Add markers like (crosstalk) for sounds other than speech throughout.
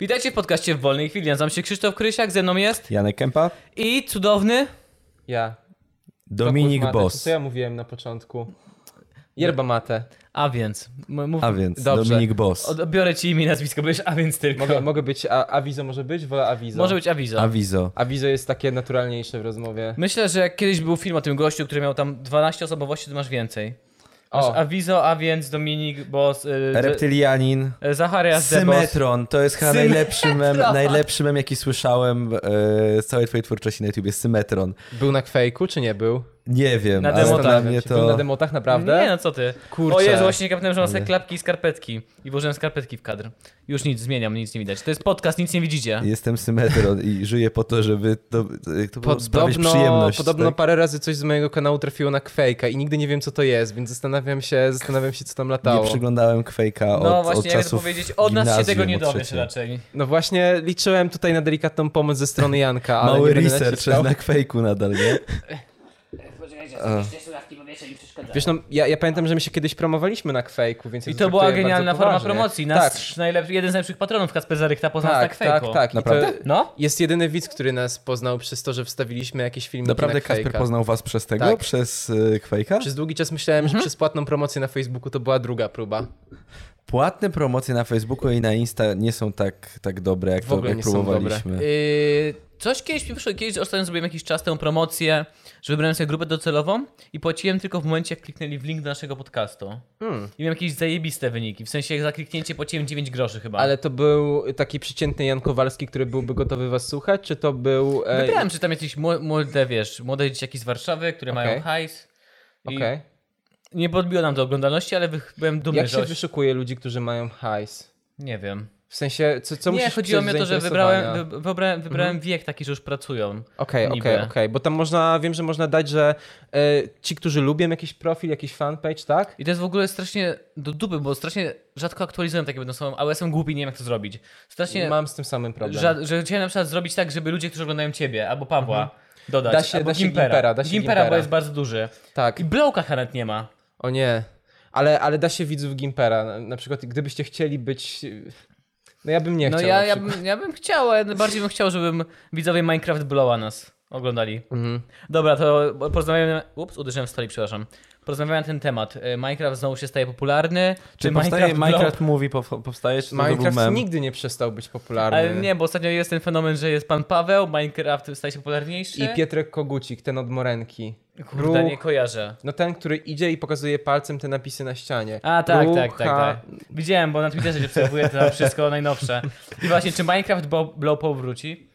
Witajcie w podcaście w wolnej chwili. Nazywam się Krzysztof Krysiak, ze mną jest Janek Kępa, i cudowny. Ja. Dominik Kurt Mate, to Boss. Co ja mówiłem na początku? Yerba mate. A więc. m- Mów, A więc, Dobrze. Dominik Boss. Odbiorę ci imię i nazwisko, będziesz a więc tylko. (laughs) Mogę, mogę być, a, awizo może być? Wolę awizo. (laughs) Może być awizo. Awizo. Awizo jest takie naturalniejsze w rozmowie. Myślę, że jak kiedyś był film o tym gościu, który miał tam 12 osobowości, to masz więcej. Masz O. awizo, a więc Dominik, Boss, yy, Reptylianin. yy, Zacharias, The Boss. Symetron. To jest chyba Symetron. najlepszy mem, najlepszy mem, jaki słyszałem e, z całej twojej twórczości na YouTubie. Symetron. Był na kwejku, czy nie był? Nie wiem, Na ale demotach. dla mnie Czy tak. Był na to... demotach, naprawdę? Nie, no co ty. Kurczę. O Jezu, właśnie kapnąłem, że mam sobie klapki i skarpetki. I włożyłem skarpetki w kadr. Już nic, zmieniam, nic nie widać. To jest podcast, nic nie widzicie. Jestem Symetron i żyję po to, żeby to, jak to było, sprawić Podobno, przyjemność. podobno tak? parę razy coś z mojego kanału trafiło na kwejka i nigdy nie wiem, co to jest, więc zastanawiam się, zastanawiam się co tam Nie latało. przyglądałem Quake'a od, No od właśnie, jak to czasów powiedzieć, od nas się gimnazjum, tego nie od dowiesz trzeciej. raczej. No właśnie, liczyłem tutaj na delikatną pomoc ze strony Janka, ale Mały nie będę research naciskał. na Quake'u nadal, nie? Poczekajcie, jakieś słuchawki, bo wiecie, mi przeszkadzają. Wiesz, no ja, ja pamiętam, że my się kiedyś promowaliśmy na kwejku, więc ja Tak. I to traktuję była bardzo genialna forma poważnie. promocji. Nasz Tak, najlepszy, jeden z najlepszych patronów Kasper Zarychta poznał tak, tak, na tak, Quake'u. tak. I Naprawdę? To No? jest jedyny widz, który nas poznał przez to, że wstawiliśmy jakieś filmiki Naprawdę na Kasper Quake'a. poznał was przez tego? Tak. Przez y, Quake'a? Przez długi czas myślałem, Mhm. że przez płatną promocję na Facebooku to była druga próba. Płatne promocje na Facebooku i na Insta nie są tak, tak dobre, jak, W to, ogóle jak nie są dobre. próbowaliśmy. Yy, coś kiedyś mi wyszło, kiedyś ostatnio zrobiłem jakiś czas tę promocję, że wybrałem sobie grupę docelową i płaciłem tylko w momencie, jak kliknęli w link do naszego podcastu. Hmm. I miałem jakieś zajebiste wyniki. W sensie, jak za kliknięcie płaciłem 9 groszy chyba. Ale to był taki przeciętny Jan Kowalski, który byłby gotowy was słuchać, czy to był... e, Wybrałem, czy tam jakieś mł- młode, wiesz, młode dzieciaki z Warszawy, które mają Okej. hajs. I Okej. Nie podbiło nam to oglądalności, ale wy- byłem dumny, Jak że... się oś- wyszukuje ludzi, którzy mają hajs? Nie wiem. W sensie, co, co nie, musisz Mhm. chodziło mi o przejść to, że zainteresowania? wybrałem, wy- wybrałem, wybrałem wiek taki, że już pracują. Okej, Niby. okej, okej, bo tam można, wiem, że można dać, że e, ci, którzy lubią jakiś profil, jakiś fanpage, tak? I to jest w ogóle strasznie do dupy, bo strasznie rzadko aktualizuję takie będą sobą, ale jestem głupi, nie wiem jak to zrobić. Strasznie, Mam z tym samym problem. ża- że chciałem na przykład zrobić tak, żeby ludzie, którzy oglądają ciebie albo Pawła, dodać. Mhm. Da się- albo da się Gimpera, da się Gimpera. bo jest bardzo duży. Tak. I blołka chanet nie ma. O nie. Ale, ale da się widzów Gimpera. Na, na przykład, gdybyście chcieli być. No ja bym nie No chciał. ja, na ja, przykład. bym, ja bym chciał, ale bardziej bym chciał, żebym widzowie Minecraft bloła nas oglądali. Mhm. Dobra, to porozmawiamy... Ups, uderzyłem w stolik, przepraszam. Porozmawiamy na ten temat. E, Minecraft znowu się staje popularny. Czy powstaje Minecraft, bloł- Minecraft Movie, pow- powstaje, czy to był Minecraft mem? nigdy nie przestał być popularny. Ale nie, bo ostatnio jest ten fenomen, że jest pan Paweł, Minecraft staje się popularniejszy. I Pietrek Kogucik, ten od Morenki. Kurde, Ruch- nie kojarzę. No ten, który idzie i pokazuje palcem te napisy na ścianie. A, tak, Rucha... tak, tak, tak. Widziałem, bo na Twitterze się obserwuję (laughs) to wszystko najnowsze. I właśnie, czy Minecraft Bo- Blow powróci?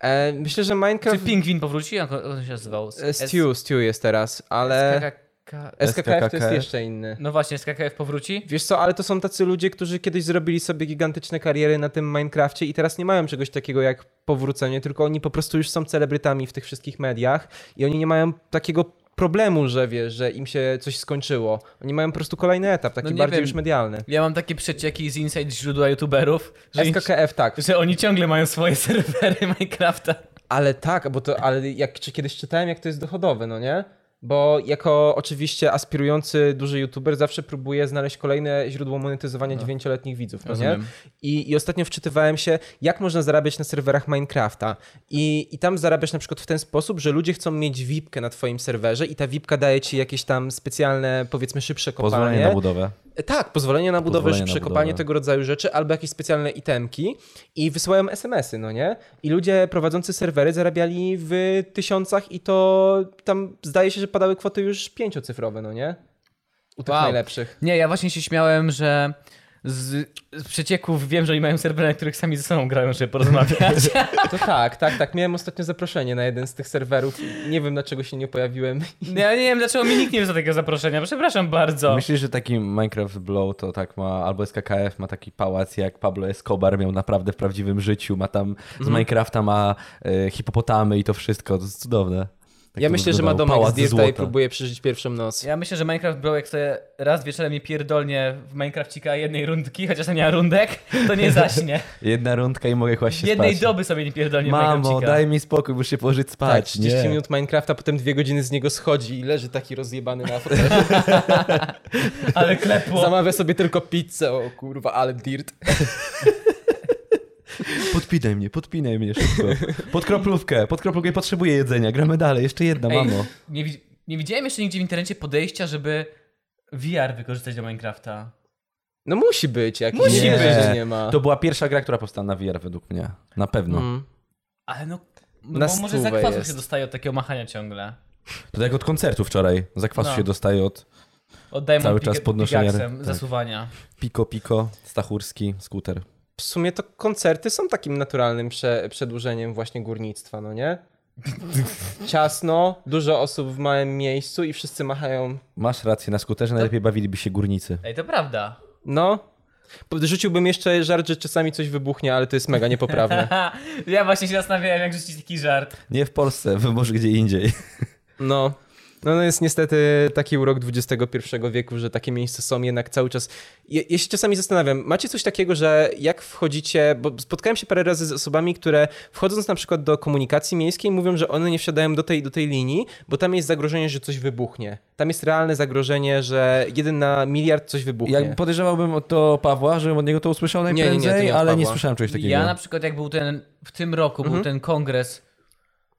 E, myślę, że Czy Minecraft. Pingwin powróci? Jak on on się nazywał? E, Stew, Stew jest teraz, ale. SKKK. SKKF to jest SKKF. jeszcze inny. No właśnie, SKKF powróci? Wiesz co, ale to są tacy ludzie, którzy kiedyś zrobili sobie gigantyczne kariery na tym Minecrafcie i teraz nie mają czegoś takiego jak powrócenie, tylko oni po prostu już są celebrytami w tych wszystkich mediach i oni nie mają takiego problemu, że wiesz, że im się coś skończyło. Oni mają po prostu kolejny etap, taki No nie bardziej wiem. już medialny. Ja mam takie przecieki z inside źródła youtuberów, że, SKKF tak, że oni ciągle mają swoje (laughs) serwery Minecrafta. ale tak, bo to, ale jak czy kiedyś czytałem, jak to jest dochodowe, no nie? Bo jako oczywiście aspirujący duży youtuber zawsze próbuje znaleźć kolejne źródło monetyzowania dziewięcioletnich widzów, no nie? Rozumiem. I, I ostatnio wczytywałem się, jak można zarabiać na serwerach Minecrafta. I, I tam zarabiasz na przykład w ten sposób, że ludzie chcą mieć VIPkę na twoim serwerze i ta VIPka daje ci jakieś tam specjalne, powiedzmy, szybsze kopalnie. Pozwolenie na budowę. Tak, pozwolenie na budowę, Pozwolenie na szybsze budowę. kopanie tego rodzaju rzeczy, albo jakieś specjalne itemki i wysyłają SMS-y, no nie? I ludzie prowadzący serwery zarabiali w tysiącach i to tam zdaje się, że padały kwoty już pięciocyfrowe, no nie? U tych Wow. najlepszych. Nie, ja właśnie się śmiałem, że z, z przecieków wiem, że oni mają serwery, na których sami ze sobą grają, żeby (laughs) porozmawiać. To tak, tak, tak. Miałem ostatnio zaproszenie na jeden z tych serwerów. Nie wiem, dlaczego się nie pojawiłem. No Ja nie wiem, dlaczego mi nikt nie wziął takiego zaproszenia. Przepraszam bardzo. Myślisz, że taki Minecraft Blow to tak ma, albo SKKF ma taki pałac jak Pablo Escobar miał naprawdę w prawdziwym życiu, ma tam, Mhm. z Minecrafta ma e, hipopotamy i to wszystko, to jest cudowne. Tak Ja to myślę, że ma wyglądało. domek z Pałac Dirta złota. i próbuje przeżyć pierwszą noc. Ja myślę, że Minecraft Bro, jak sobie raz wieczorem nie pierdolnie w Minecrafcika jednej rundki, chociaż tam nie ma rundek, to (laughs) nie zaśnie. Jedna rundka i mogę kłaść się Jednej spać. doby sobie nie pierdolnie w Mamo, Minecrafcika. daj mi spokój, muszę się położyć Tak, spać. 30 nie. minut Minecrafta, potem dwie godziny z niego schodzi i leży taki rozjebany na fotelu. (laughs) Ale klepło. Zamawia sobie tylko pizzę, o kurwa, ale dirt. Podpinaj mnie, podpinaj mnie szybko. Pod kroplówkę, pod kroplówkę potrzebuję jedzenia. Gramy dalej, jeszcze jedna, Ej, mamo. nie, widz- nie widziałem jeszcze nigdzie w internecie podejścia, żeby VR wykorzystać do Minecrafta. No musi być jakiś. Musi nie, być. że nie ma. To była pierwsza gra, która powstała na VR według mnie. Na pewno. Mm. Ale no, no Na bo może stówę zakwasu jest. się dostaje od takiego machania ciągle. To tak od koncertu wczoraj. Zakwasu No. się dostaje od Oddaję Cały mu czas pik- podnoszenia pikaksem ręki. tak. zasuwania. Piko Piko, Stachurski, Skuter. W sumie to koncerty są takim naturalnym prze, przedłużeniem właśnie górnictwa, no nie? Ciasno, dużo osób w małym miejscu i wszyscy machają. Masz rację, na skuterze najlepiej bawiliby się górnicy. Ej, to prawda. (laughs) No. Rzuciłbym jeszcze żart, że czasami coś wybuchnie, ale to (laughs) jest mega niepoprawne. Haha, ja właśnie się zastanawiałem, jak rzucić taki żart. Nie w Polsce, w- może gdzie indziej. No. No, no jest niestety taki urok XXI wieku, że takie miejsca są jednak cały czas. Ja, ja się czasami zastanawiam, macie coś takiego, że jak wchodzicie, bo spotkałem się parę razy z osobami, które wchodząc na przykład do komunikacji miejskiej mówią, że one nie wsiadają do tej, do tej linii, bo tam jest zagrożenie, że coś wybuchnie. Tam jest realne zagrożenie, że jeden na miliard coś wybuchnie. Ja podejrzewałbym od to Pawła, żebym od niego to usłyszał nie, to najprędzej, nie od ale nie Pawła. słyszałem czegoś takiego. Mhm. Ja na przykład, jak był ten, w tym roku był ten kongres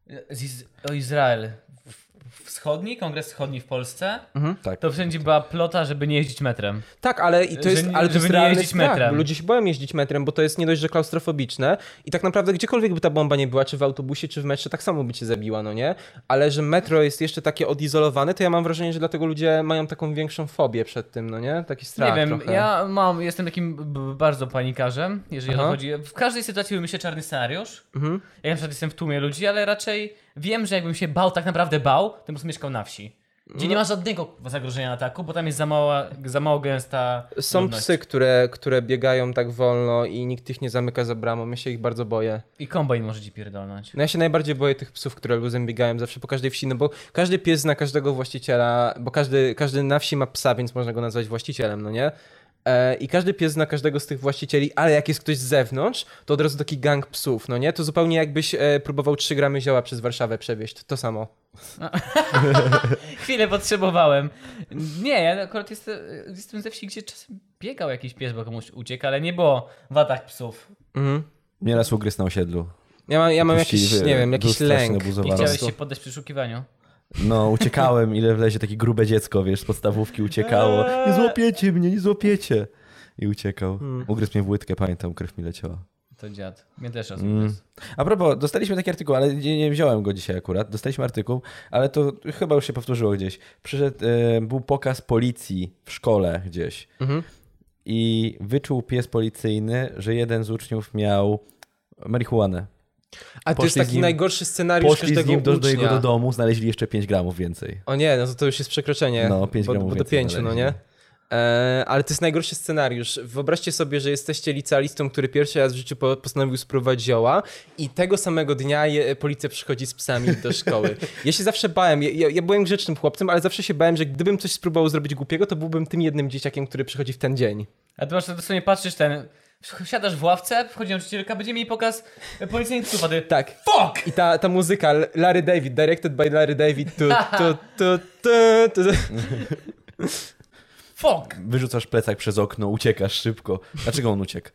e, z Iz- o Izrael. w- Wschodni, kongres wschodni w Polsce, Tak. to wszędzie była plota, żeby nie jeździć metrem. Tak, ale i to Że jest, nie- ale to żeby jest nie realny jeździć strach, metrem. bo ludzie się boją jeździć metrem, bo to jest nie dość, że klaustrofobiczne i tak naprawdę gdziekolwiek by ta bomba nie była, czy w autobusie, czy w metrze, tak samo by cię zabiła, no nie? Ale że metro jest jeszcze takie odizolowane, to ja mam wrażenie, że dlatego ludzie mają taką większą fobię przed tym, no nie? Taki strach nie wiem, trochę. ja mam, jestem takim b- bardzo panikarzem, jeżeli o to Aha. chodzi. W każdej sytuacji mi się czarny scenariusz. Mhm. Ja na przykład jestem w tłumie ludzi, ale raczej wiem, że jakbym się bał, tak naprawdę bał, to bym po prostu mieszkał na wsi. Gdzie nie ma żadnego zagrożenia ataku, bo tam jest za, mała, za mało gęsta. Są ludność. psy, które, które biegają tak wolno i nikt ich nie zamyka za bramą, ja się ich bardzo boję. I kombajn może ci pierdolnąć. (laughs) No ja się najbardziej boję tych psów, które luzem biegają zawsze po każdej wsi, no bo każdy pies zna każdego właściciela, bo każdy, każdy na wsi ma psa, więc można go nazwać właścicielem, no nie? E, I każdy pies zna każdego z tych właścicieli, ale jak jest ktoś z zewnątrz, to od razu taki gang psów, no nie? To zupełnie jakbyś e, próbował 3 gramy zioła przez Warszawę przewieźć, to samo. Chwilę potrzebowałem. Nie, ja akurat jestem, jestem ze wsi, gdzie czasem biegał jakiś pies, bo komuś uciekł, ale nie było w atak psów. Mhm. Nieraz ugryz na osiedlu. Ja mam, ja mam Puścili jakiś, wy- nie wiem, jakiś był straszny lęk. obuzowany. Nie chciałeś prostu. się poddać przeszukiwaniu. No, uciekałem, ile wlezie takie grube dziecko, wiesz, z podstawówki uciekało. Nie złapiecie mnie, nie złapiecie. I uciekał. Hmm. Ugryzł mnie w łydkę, pamiętam, krew mi leciała. To dziad. Mnie też raz Mm. A propos, dostaliśmy taki artykuł, ale nie, nie wziąłem go dzisiaj akurat. Dostaliśmy artykuł, ale to chyba już się powtórzyło gdzieś. Przyszedł, e, był pokaz policji w szkole gdzieś. Mhm. I wyczuł pies policyjny, że jeden z uczniów miał marihuanę. A to jest Poszli z taki nim- najgorszy scenariusz Poszli z każdego nim do, do ucznia. jego do domu, znaleźli jeszcze 5 gramów więcej. O nie, no to, to już jest przekroczenie. No, pięć bo, gramów bo do więcej pięciu, no nie? znaleźli. E, ale to jest najgorszy scenariusz. Wyobraźcie sobie, że jesteście licealistą, który pierwszy raz w życiu po, postanowił spróbować zioła i tego samego dnia je, policja przychodzi z psami do szkoły. (laughs) Ja się zawsze bałem, ja- ja, ja byłem grzecznym chłopcem, ale zawsze się bałem, że gdybym coś spróbował zrobić głupiego, to byłbym tym jednym dzieciakiem, który przychodzi w ten dzień. A ty masz to sobie patrzysz ten. Siadasz w ławce, wchodzi nauczycielka, będzie mieli pokaz policyjnych psów, a ty. Tak. Fuck! I ta, ta muzyka L- Larry David, directed by Larry David. Tu, tu, tu, tu, tu, Fuck! Wyrzucasz plecak przez okno, uciekasz szybko. Dlaczego on uciekł?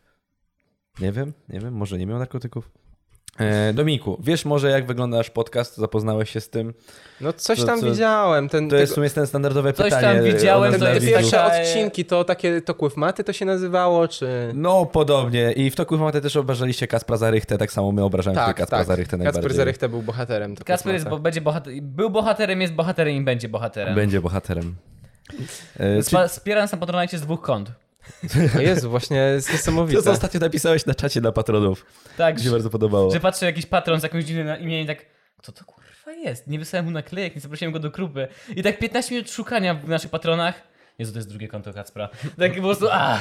Nie wiem, nie wiem, może nie miał narkotyków. E, Dominiku, wiesz może jak wygląda nasz podcast? Zapoznałeś się z tym? No coś To- tam to- widziałem. Ten, To jest tego- w sumie ten standardowe Coś tam pytanie. e, widziałem, od to Te, te jest widzów. pierwsze taka- odcinki to takie to kływ maty to się nazywało, czy. No, podobnie. I w toku Matę też obrażaliście Kaspra Zarychtę, tak samo my obrażamy tak, Kaspra Zarychtę najbardziej. Kacper Zarychta był bohaterem. To Kasper jest, bo będzie bohater, był bohaterem, jest bohaterem i będzie bohaterem. Będzie bohaterem. E, czy... Spa- Spieram nas na Patronite z dwóch kąt. O Jezu, właśnie jest niesamowite. (laughs) To, co ostatnio napisałeś na czacie dla patronów. Tak, Tak się że, bardzo podobało. że patrzę jakiś patron z jakimś dziwnym na- imieniem i tak, kto to kurwa jest? Nie wysłałem mu naklejek, nie zaprosiłem go do grupy. I tak 15 minut szukania w naszych patronach. Jezu, to jest drugie konto Kacpra. (laughs) Tak po prostu, a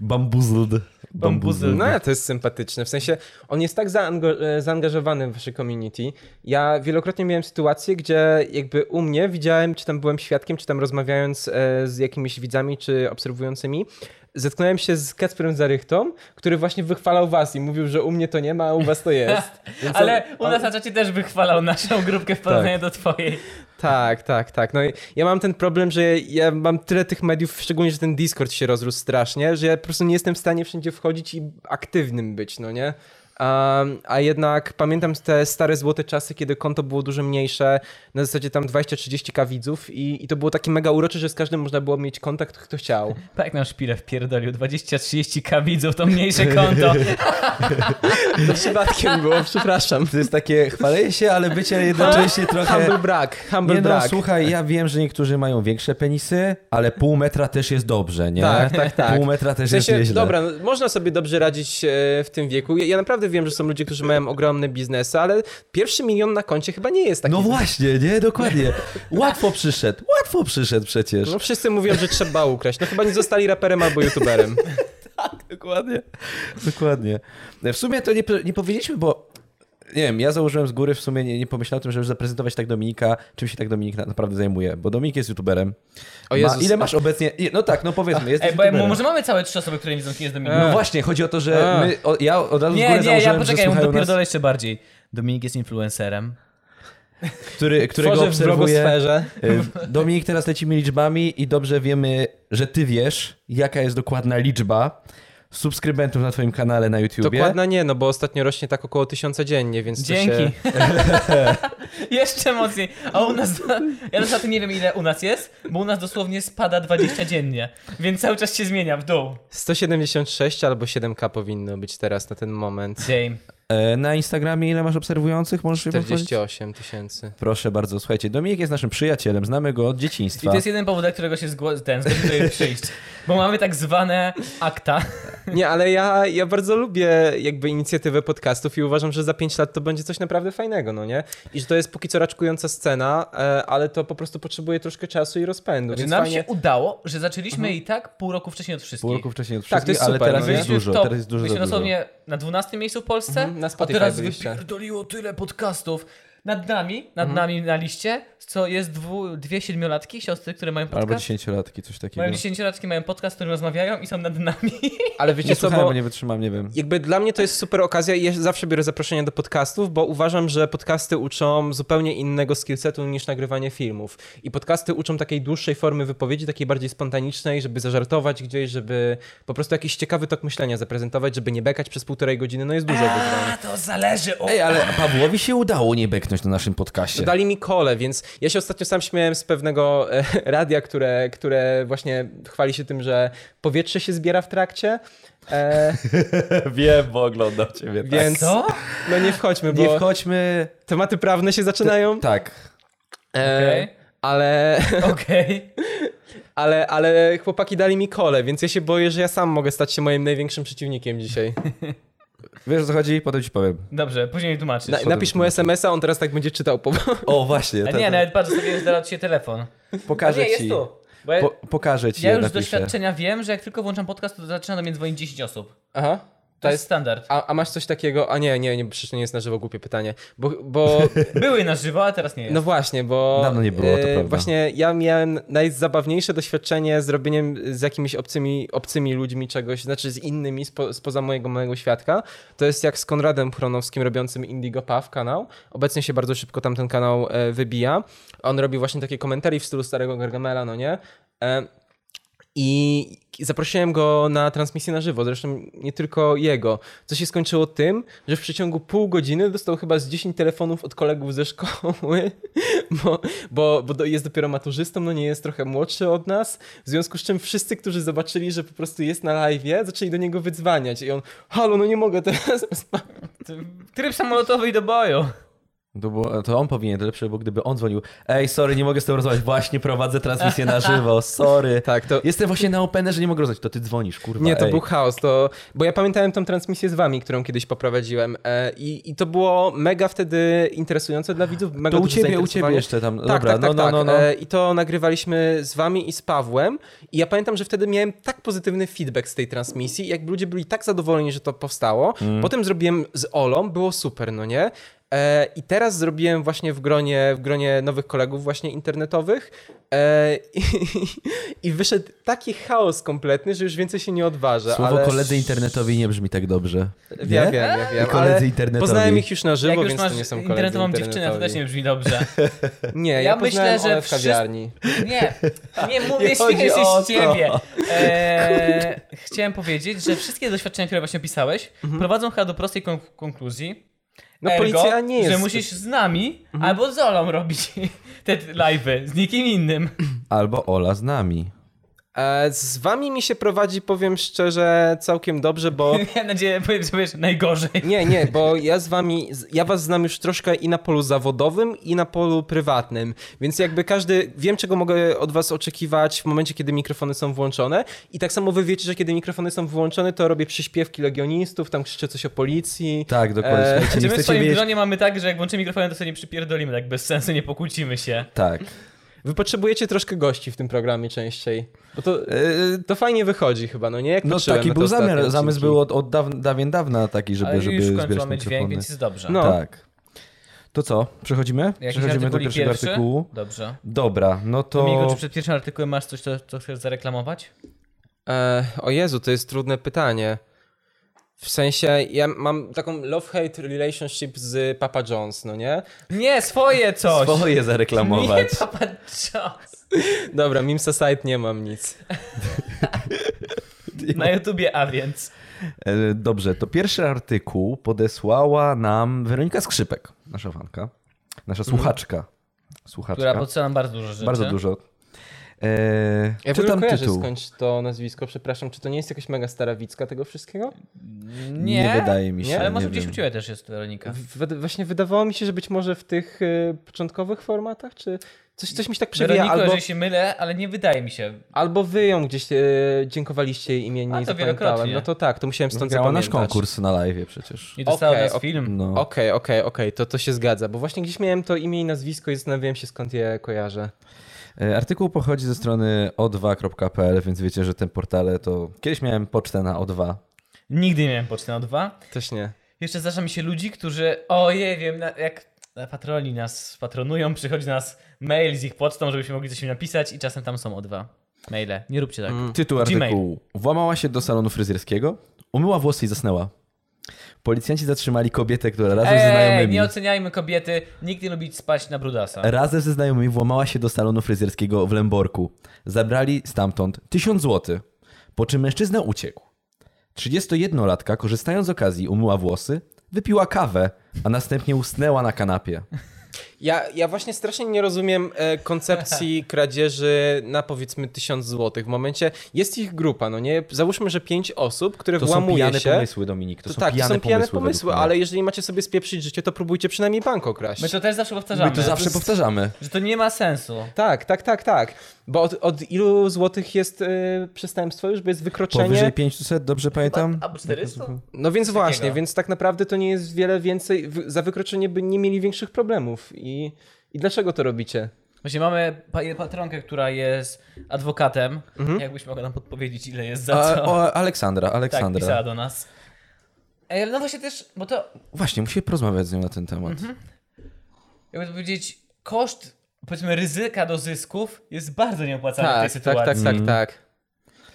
Bambuzzled. Bambuzzled. No, ale to jest sympatyczne. W sensie, on jest tak zaango- e, zaangażowany w wasze community. Ja wielokrotnie miałem sytuację, gdzie jakby u mnie widziałem, czy tam byłem świadkiem, czy tam rozmawiając e, z jakimiś widzami, czy obserwującymi, zetknąłem się z Kacperem Zarychtą, który właśnie wychwalał was i mówił, że u mnie to nie ma, a u was to (laughs) jest. Więc on- Ale u nas na czacie też wychwalał naszą grupkę w porównaniu do twojej. Tak, tak, tak. No i ja mam ten problem, że ja mam tyle tych mediów, szczególnie, że ten Discord się rozrósł strasznie, że ja po prostu nie jestem w stanie wszędzie wchodzić i aktywnym być, no nie? A, a jednak pamiętam te stare złote czasy, kiedy konto było dużo mniejsze, na zasadzie tam 20-30k widzów i, i to było takie mega urocze, że z każdym można było mieć kontakt, (laughs) kto chciał. Tak jak nam szpilę wpierdolił, 20-30k widzów, to mniejsze (laughs) konto. To przypadkiem było, przepraszam. To jest takie chwalenie się, ale bycie (laughs) jednocześnie trochę... Humble brak, Tak, humble Nie no, brak. słuchaj, ja wiem, że niektórzy mają większe penisy, ale pół metra też jest dobrze, nie? Tak, tak, tak. Pół metra też W sensie, jest nieźle. Dobra, no, można sobie dobrze radzić e, w tym wieku. Ja, ja naprawdę wiem, że są ludzie, którzy mają ogromne biznesy, ale pierwszy milion na koncie chyba nie jest taki. No właśnie, nie? Dokładnie. Łatwo przyszedł, łatwo przyszedł przecież. No wszyscy mówią, że trzeba ukraść. No chyba nie zostali raperem albo (laughs) youtuberem. Dokładnie. Dokładnie. W sumie to nie, nie powiedzieliśmy, bo nie wiem, ja założyłem z góry, w sumie nie, nie pomyślałem o tym, żeby zaprezentować tak Dominika, czym się tak Dominik na, naprawdę zajmuje, bo Dominik jest youtuberem. O Jezus. Ma, ile masz obecnie? i- No tak, no powiedzmy, jest Ej, bo youtuberem. może mamy całe trzy osoby, które nie widzą, kim jest Dominik. No właśnie, chodzi o to, że A. my, o, ja od razu z E. nie, góry nie, ja założyłem, poczekaj, że ja mu słuchają nas, dopierdolę jeszcze bardziej. Dominik jest influencerem. który, którego Tworzy w obserwuję. blogosferze. Y, Dominik, teraz lecimy liczbami i dobrze wiemy, że ty wiesz, jaka jest dokładna liczba subskrybentów na twoim kanale na YouTubie. Dokładna nie, no bo ostatnio rośnie tak około tysiąca dziennie, więc (laughs) To się... Dzięki. Jeszcze mocniej. A u nas. Ja na przykład nie wiem, ile u nas jest, bo u nas dosłownie spada 20 dziennie, więc cały czas się zmienia w dół. 176 albo 7k powinno być teraz na ten moment. Dzień. E, Na Instagramie ile masz obserwujących? Możesz mi powiedzieć? 48 tysięcy. Proszę bardzo, słuchajcie, Dominik jest naszym przyjacielem, znamy go od I dzieciństwa. to jest jeden powód, dla którego się zgło- ten, zgodził tutaj (laughs) przyjść. Bo mamy tak zwane akta. Nie, ale ja, ja bardzo lubię jakby inicjatywę podcastów i uważam, że za 5 lat to będzie coś naprawdę fajnego, no nie? I że to jest póki co raczkująca scena, e, ale to po prostu potrzebuje troszkę czasu i rozpędu, Znaczy, więc nam fajnie... się udało, że zaczęliśmy i tak pół roku wcześniej od wszystkich. Mhm. Pół roku wcześniej od Tak, to wszystkich, jest ale super, teraz no nie? jest dużo, top. teraz jest dużo za Byliśmy dużo. dosłownie na 12 miejscu w Polsce, Mhm, na a Spotify teraz byliście. wypierdoliło tyle podcastów. Nad nami, nad nami na liście, co jest dwu, dwie siedmiolatki, siostry, które mają Albo podcast. dziesięciolatki, coś takiego. Mają dziesięciolatki, mają podcast, w którym rozmawiają i są nad nami. Ale wiecie Nie co, słuchałem, bo bo nie wytrzymam, nie wiem. no to zależy od... Ej, ale Pawłowi się udało nie beknąć na naszym podcaście. Dali mi kole, więc ja się ostatnio sam śmiałem z pewnego e, (laughs) radia, które, które właśnie chwali się tym, że powietrze się zbiera w trakcie. E, (laughs) Wiem, bo oglądam ciebie. Tak. więc Co? no nie wchodźmy, bo Nie wchodźmy... tematy prawne się zaczynają. Tak. E, Okej. ale, Okej. ale, ale chłopaki dali mi kole, więc ja się boję, że ja sam mogę stać się moim największym przeciwnikiem dzisiaj. Wiesz o co chodzi? Potem ci powiem. Dobrze, później tłumaczysz. Na, napisz mu SMS-a, on teraz tak będzie czytał po (laughs) O, właśnie. A ta- nie, ta- nawet patrz, sobie zaraz się telefon. A Pokażę nie, jest ci. tu. Bo ja, Po, pokażę ci, ja już z napiszę. doświadczenia wiem, że jak tylko włączam podcast, to zaczyna do mnie dzwonić 10 osób. To, Aha. jest standard. A, a masz coś takiego? A nie, nie, nie, przecież nie jest na żywo głupie pytanie. Bo, bo Były na żywo, a teraz nie jest. No właśnie, bo. Dawno nie było, to e, prawda. Właśnie ja miałem najzabawniejsze doświadczenie z robieniem z jakimiś obcymi, obcymi ludźmi czegoś, znaczy z innymi spo, spoza mojego małego świadka. To jest jak z Konradem Chronowskim robiącym Indigo Paw kanał. Obecnie się bardzo szybko tam ten kanał e, wybija. On robi właśnie takie komentarze w stylu starego Gargamela, no nie? E, i zaprosiłem go na transmisję na żywo, zresztą nie tylko jego. Co się skończyło tym, że w przeciągu pół godziny dostał chyba z 10 telefonów od kolegów ze szkoły, bo, bo, bo do- jest dopiero maturzystą, no nie jest trochę młodszy od nas. W związku z czym wszyscy, którzy zobaczyli, że po prostu jest na live, zaczęli do niego wydzwaniać. I on, halo, no nie mogę teraz. (laughs) rozmawiać". Tryb samolotowy i do boju. To, było, to on powinien to lepsze, bo gdyby on dzwonił, ej, sorry, nie mogę z tobą rozmawiać, właśnie prowadzę transmisję na (laughs) żywo, sorry. Tak, to. Jestem właśnie na openerze, nie mogę rozmawiać, to ty dzwonisz, kurwa. Nie, to ej. był chaos, to, bo ja pamiętałem tą transmisję z wami, którą kiedyś poprowadziłem e, i, i to było mega wtedy interesujące dla widzów, mega To u duże ciebie, u ciebie zainteresowanie. jeszcze tam, Tak, dobra, tak, tak, no, tak. no, no, no. E, I to nagrywaliśmy z wami i z Pawłem. I ja pamiętam, że wtedy miałem tak pozytywny feedback z tej Mm. transmisji, jak ludzie byli tak zadowoleni, że to powstało. Potem zrobiłem z Olą, było super, no nie? E, I teraz zrobiłem właśnie w gronie, w gronie nowych kolegów właśnie internetowych e, i, (laughs) i wyszedł taki chaos kompletny, że już więcej się nie odważa. Słowo ale... koledzy internetowi nie brzmi tak dobrze. Ja Nie? wiem, ja wiem. koledzy ale internetowi. Poznałem ich już na żywo, Jak już więc masz to nie są koledzy internetową dziewczynę, to też nie brzmi dobrze. Nie, ja, Ja myślę, poznałem że Olę w wszyscy- kawiarni. (laughs) Nie, nie mówię, chodzi śmieję się o z ciebie. Eee, chciałem powiedzieć, że wszystkie doświadczenia, które właśnie opisałeś, prowadzą chyba do prostej kon- konkluzji. Mhm. No ergo, policja nie jest... Że Mhm. musisz z nami albo z Olą robić (laughs) te live'y, z nikim innym. Albo Ola z nami. E, Z wami mi się prowadzi, powiem szczerze, całkiem dobrze, (laughs) bo... Miałem nadzieję, powiem, że powiesz najgorzej. Nie, nie, bo ja z wami, z- ja was znam już troszkę i na polu zawodowym, i na polu prywatnym, więc jakby każdy, wiem czego mogę od was oczekiwać w momencie, kiedy mikrofony są włączone i tak samo wy wiecie, że kiedy mikrofony są włączone, to robię przyśpiewki legionistów, tam krzyczę coś o policji. Tak, dokładnie. Eee, Słuchajcie, Czy nie Znaczy, my w chcecie swoim wiedzieć... gronie mamy tak, że jak włączymy mikrofon, to sobie nie przypierdolimy tak bez sensu, nie pokłócimy się. Tak. Wy potrzebujecie troszkę gości w tym programie częściej, bo to, Eee, to fajnie wychodzi chyba, no nie? Jak No patrzyłem taki na te był ostatnie zamiar, zamysł odcinki. był od, od dawien, dawien dawna taki, żeby, Ale żeby już w końcu zbierać mamy dźwięk, mikrofony. więc jest dobrze. No. Tak. To co? Przechodzimy? Jakiś Przechodzimy do artykuł pierwszego pierwszy? artykułu. Dobrze. Dobra, no to... Migo, czy przed pierwszym artykułem masz coś, co, co chcesz zareklamować? E, o Jezu, to jest trudne pytanie. W sensie, ja mam taką love-hate relationship z Papa John's, no nie? Nie, swoje coś! Swoje zareklamować. (laughs) Nie, Papa (laughs) John's. Dobra, Mimsa Site nie mam nic. Na YouTubie, a więc. E, Dobrze, to pierwszy artykuł podesłała nam Weronika Skrzypek, nasza fanka, nasza słuchaczka. Słuchaczka. Mhm. Która podsyła nam bardzo dużo rzeczy. Bardzo dużo. E, Ja w ogóle czytam kojarzę tytuł. skądś to nazwisko, przepraszam, czy to nie jest jakaś mega starawicka tego wszystkiego? Nie, wydaje mi się. nie, Ale może gdzieś wiem. uczyła też jest Weronika. W, właśnie wydawało mi się, że być może w tych e, początkowych formatach, czy coś, coś mi się tak przewija, Weroniko, albo, jeżeli się mylę, ale nie wydaje mi się. albo wy ją gdzieś e, dziękowaliście jej imiennie A, i to zapamiętałem. wielokrotnie. No to tak, to musiałem stąd Wygrała nasz zapamiętać. konkurs na live przecież. Nie dostała Okej, okay, nas ok. film. No. Okej, okej, okej, to, to się zgadza, bo właśnie gdzieś miałem to imię i nazwisko i zastanawiałem się skąd je kojarzę. E, Artykuł pochodzi ze strony o2.pl, więc wiecie, że te portale to... Kiedyś miałem pocztę na o2. Nigdy nie miałem poczty na dwa. Też nie. Jeszcze zdarza mi się ludzi, którzy, ojej, wiem, na, jak na patroli nas patronują, przychodzi do nas mail z ich pocztą, żebyśmy mogli coś im napisać i czasem tam są o dwa maile. Nie róbcie tak. Tytuł Gmail. artykułu. Włamała się do salonu fryzjerskiego, umyła włosy i zasnęła. Policjanci zatrzymali kobietę, która razem ze Ej, znajomymi... Eee, Eee, nie oceniajmy kobiety, nikt nie lubi spać na brudasa. Razem ze znajomymi włamała się do salonu fryzjerskiego w Lęborku. Zabrali stamtąd 1000 zł, po czym mężczyzna uciekł. 31-latka, korzystając z okazji, umyła włosy, wypiła kawę, a następnie usnęła na kanapie. Ja, ja właśnie strasznie nie rozumiem e, (laughs) koncepcji kradzieży na powiedzmy 1000 zł. W momencie jest ich grupa, no nie? Załóżmy, że pięć osób, które To są włamuje pijane się. pomysły, Dominik. To, to są, tak, pijane to są pijane pomysły, pomysły według mnie. ale jeżeli macie sobie spieprzyć życie, to próbujcie przynajmniej bank okraść. My to też zawsze powtarzamy. My to zawsze jest- powtarzamy. Że to nie ma sensu. Tak, tak, tak, tak. Bo od, od ilu złotych jest e, przestępstwo już, bo jest wykroczenie. Powyżej 500, No, dobrze pamiętam? Albo 400? No więc właśnie, takiego. więc tak naprawdę to nie jest wiele więcej. W, za wykroczenie by nie mieli większych problemów. I, i dlaczego to robicie? Właśnie mamy pa- patronkę, która jest adwokatem. Jakbyś mogła nam podpowiedzieć, ile jest za Mhm. A, no co. o, (laughs) Aleksandra, tak, Aleksandra. pisała do nas. Ej, ale no właśnie też, bo to, Właśnie, musimy porozmawiać z nią na ten temat. Mhm. jakby to powiedzieć, koszt, powiedzmy, ryzyka do zysków jest bardzo nieopłacalny w tej Tak, tak, sytuacji. tak, tak, tak.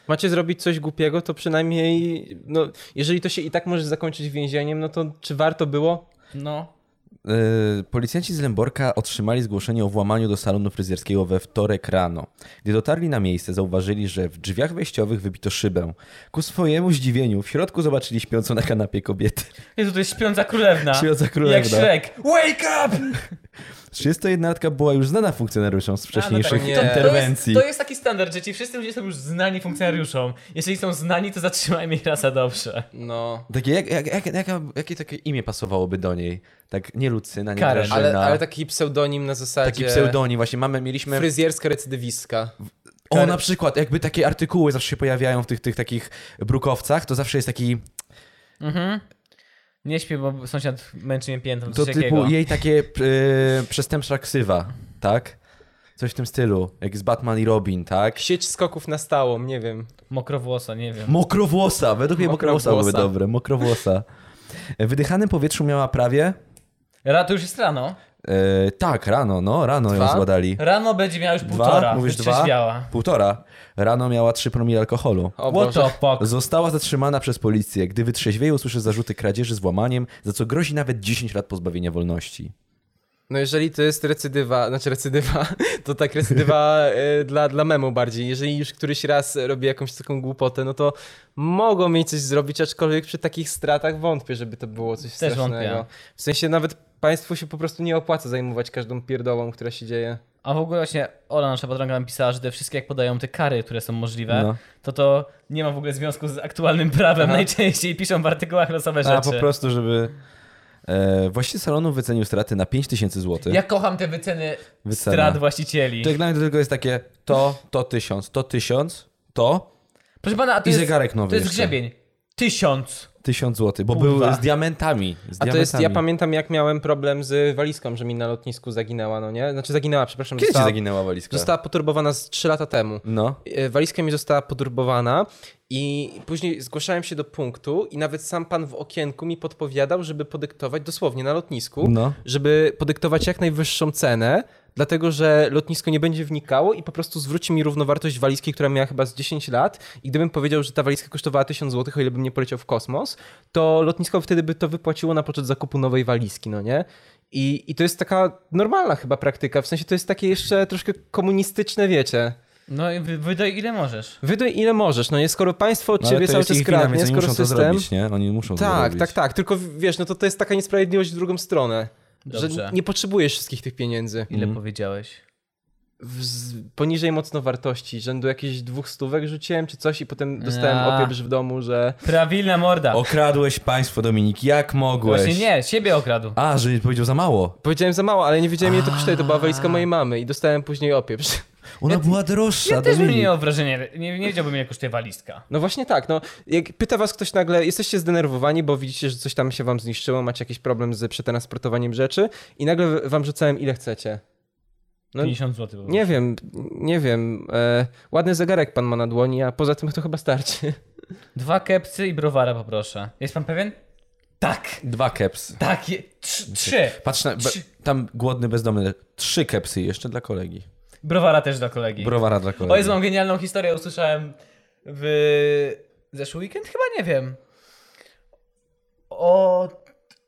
Macie zrobić coś głupiego, to przynajmniej, no, jeżeli to się i tak może zakończyć więzieniem, no to czy warto było? No. Yy, Policjanci z Lęborka otrzymali zgłoszenie o włamaniu do salonu fryzjerskiego we wtorek rano. Gdy dotarli na miejsce, zauważyli, że w drzwiach wejściowych wybito szybę. Ku swojemu zdziwieniu, w środku zobaczyli śpiącą na kanapie kobietę. Jezu, to jest śpiąca królewna. Śpiąca królewna. Jak Shrek. Wake up! 31-latka była już znana funkcjonariuszom z wcześniejszych A, no tak. To- interwencji. To jest, to jest taki standard, że ci wszyscy ludzie są już znani funkcjonariuszom. Jeżeli są znani, to zatrzymajmy ich raz, a dobrze. No. Takie, jak, jak, jak, jaka- jakie takie imię pasowałoby do niej? Tak, nie Lucyna, nie Karen. Grażyna. Ale, tak ale taki pseudonim na zasadzie... Taki pseudonim, właśnie mamy, mieliśmy... Fryzjerska recydywistka. O, na przykład, jakby takie artykuły zawsze się pojawiają w tych, tych takich brukowcach, to zawsze jest taki Mhm. Nie śpię, bo sąsiad męczy mnie piętą. To coś typu takiego. jej takie e, przestępcza ksywa, tak? Coś w tym stylu, jak z Batman i Robin, tak? Sieć skoków na stałą, nie wiem. Mokrowłosa, nie wiem. Mokrowłosa, według mnie mokrowłosa E, były Mokrowłosa. dobre, mokrowłosa. W wydychanym powietrzu miała prawie Ra, to już jest rano. E, tak, rano, no, rano ją Dwa? zładali. Rano będzie miała już półtora. dwa? Mówisz już dwa? Trzeźwiała. Półtora. Rano miała 3 promili alkoholu. O What Boże. the fuck? Została zatrzymana przez policję. Gdy wytrzeźwieje, usłyszy zarzuty kradzieży z włamaniem, za co grozi nawet 10 lat pozbawienia wolności. No jeżeli to jest recydywa, znaczy recydywa, (laughs) to tak recydywa y, dla, dla memu bardziej. Jeżeli już któryś raz robi jakąś taką głupotę, no to mogą mieć coś zrobić, aczkolwiek przy takich stratach wątpię, żeby to było coś Też strasznego. wątpię. W sensie nawet państwu się po prostu nie opłaca zajmować każdą pierdołą, która się dzieje. A w ogóle właśnie Ola, nasza patronka, nam pisała, że te wszystkie, jak podają te kary, które są możliwe, No. to to nie ma w ogóle związku z aktualnym prawem. Najczęściej piszą w artykułach losowe rzeczy. A po prostu, żeby... E, właściciel salonu wycenił straty na 5000 zł. Ja kocham te wyceny Wycena. strat właścicieli. To jak dla mnie to tylko jest takie to, to 1000, to 1000, to Proszę pana, a to I jest, zegarek nowy to jest jeszcze. grzebień. Tysiąc. 1000 zł, bo Kurwa. był z diamentami. Z A to jest, ja diamentami. pamiętam jak miałem problem z walizką, że mi na lotnisku zaginęła, no nie? Znaczy zaginęła, przepraszam. Kiedy ci została, zaginęła walizka? Została poturbowana z 3 lata temu. No. E, Walizka mi została podrubowana i później zgłaszałem się do punktu i nawet sam pan w okienku mi podpowiadał, żeby podyktować dosłownie na lotnisku, No. żeby podyktować jak najwyższą cenę, dlatego że lotnisko nie będzie wnikało i po prostu zwróci mi równowartość walizki, która miała chyba z 10 lat i gdybym powiedział, że ta walizka kosztowała 1000 zł, o ile bym nie poleciał w kosmos, to lotnisko wtedy by to wypłaciło na poczet zakupu nowej walizki, no nie? I, I to jest taka normalna chyba praktyka, w sensie to jest takie jeszcze troszkę komunistyczne, wiecie. No i wy- wydaj ile możesz. Wydaj ile możesz, no nie skoro państwo od No, ale ciebie to cały jest czas ich wina, kradnie, więc oni skoro muszą system... to zrobić, nie? Oni muszą to tak, zrobić. tak, tak, tylko wiesz, no to to jest taka niesprawiedliwość w drugą stronę, Dobrze. że nie potrzebujesz wszystkich tych pieniędzy. Ile powiedziałeś? W, z, poniżej mocno wartości, rzędu jakichś dwóch stówek rzuciłem czy coś i potem dostałem Ja. opieprz w domu, że... Prawilna morda. Okradłeś państwo, Dominik, jak mogłeś? Właśnie nie, siebie okradł. A, że powiedział za mało. Powiedziałem za mało, ale nie wiedziałem ile to kosztuje, to była walizka mojej mamy i dostałem później opieprz. (laughs) Ona była droższa, Ja też bym Dominik. nie miał wrażenia, nie, nie wiedziałbym ile kosztuje walizka. No właśnie tak, no jak pyta was ktoś nagle, jesteście zdenerwowani, bo widzicie, że coś tam się wam zniszczyło, macie jakiś problem z przetransportowaniem rzeczy i nagle wam rzucałem ile chcecie. No, 50 zł. Nie wiem, nie wiem. E, ładny zegarek pan ma na dłoni, a poza tym to chyba starczy. Dwa kepsy i browara poproszę. Jest pan pewien? Tak. Dwa keps. Tak, je, trzy, trzy. Patrz na, be, Trzy. tam głodny, bezdomny. Trzy kepsy jeszcze dla kolegi. Browara też dla kolegi. Browara dla kolegi. O Jezu, mam genialną historię, usłyszałem w zeszły weekend? Chyba nie wiem. O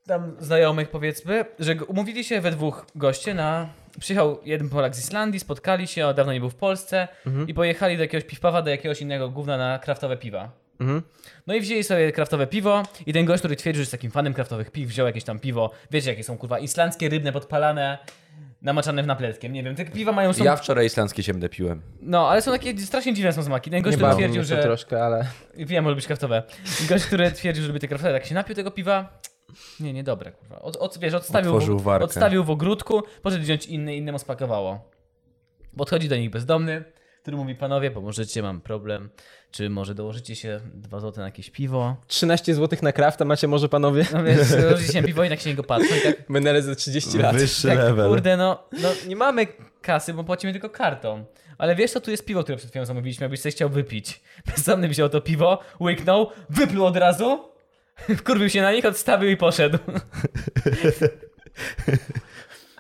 tam znajomych powiedzmy, że g- umówili się we dwóch goście na... Przyjechał jeden Polak z Islandii, spotkali się, on dawno nie był w Polsce i pojechali do jakiegoś piwpawa, do jakiegoś innego gówna na kraftowe piwa. Mhm. No i wzięli sobie kraftowe piwo i ten gość, który twierdził, że jest takim fanem kraftowych piw, wziął jakieś tam piwo. Wiecie, jakie są kurwa islandzkie, rybne, podpalane, namaczane w napletkiem. Nie wiem, te piwa mają... Są... Ja wczoraj islandzkie ciemne piłem. No, ale są takie strasznie dziwne są smaki. Ten gość, Nie który bawił twierdził, mnie to że. troszkę, ale... Wiem, lubisz kraftowe. Gość, który twierdził, że lubi te kraftowe, tak się napił tego piwa. Nie, niedobre, kurwa. Od, od, wiesz, odstawił Otworzył w, warkę. odstawił w ogródku, poszedł wziąć inny, innemu spakowało. Podchodzi do nich bezdomny, który mówi, panowie, pomożecie, mam problem. Czy może dołożycie się dwa złote na jakieś piwo? 13 zł na krafta macie może panowie? (laughs) No wiesz, dołożycie się na piwo i tak się na niego patrzą i tak, Menele za 30 lat. Wyższy tak level. kurde, no, no nie mamy kasy, bo płacimy tylko kartą. Ale wiesz co, tu jest piwo, które przed chwilą zamówiliśmy, abyś sobie chciał wypić. (laughs) Bezdomny wziął to piwo, łyknął, wypluł od razu, (laughs) wkurwił się na nich, odstawił i poszedł. (laughs)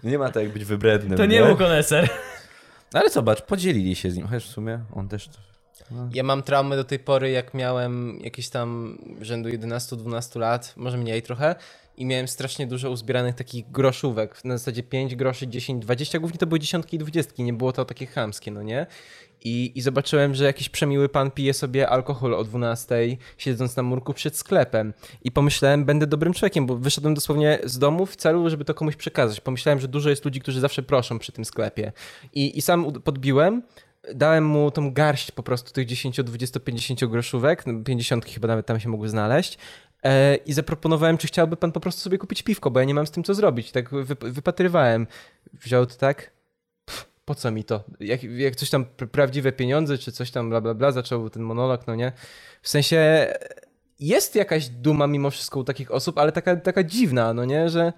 Nie ma tak jak być wybrednym. No, To nie był koneser. Ale zobacz, podzielili się z nim. Chociaż w sumie on też... Ja mam traumę do tej pory, jak miałem jakieś tam rzędu 11-12 lat, może mniej trochę, i miałem strasznie dużo uzbieranych takich groszówek, na zasadzie 5 groszy, 10, 20, głównie to były dziesiątki i dwudziestki, nie było to takie chamskie, no nie? I, I zobaczyłem, że jakiś przemiły pan pije sobie alkohol o 12, siedząc na murku przed sklepem. I pomyślałem, będę dobrym człowiekiem, bo wyszedłem dosłownie z domu w celu, żeby to komuś przekazać. Pomyślałem, że dużo jest ludzi, którzy zawsze proszą przy tym sklepie. I, i sam ud- podbiłem, dałem mu tą garść po prostu tych 10, 20, 50 groszówek, no, 50 chyba nawet tam się mogły znaleźć. E, I zaproponowałem, czy chciałby pan po prostu sobie kupić piwko, bo ja nie mam z tym co zrobić. Tak wyp- wypatrywałem. Wziął to tak. Pff, Po co mi to? Jak, jak coś tam pr- prawdziwe pieniądze, czy coś tam bla bla bla, zaczął ten monolog, no nie? W sensie e, jest jakaś duma mimo wszystko u takich osób, ale taka, taka dziwna, no nie? Że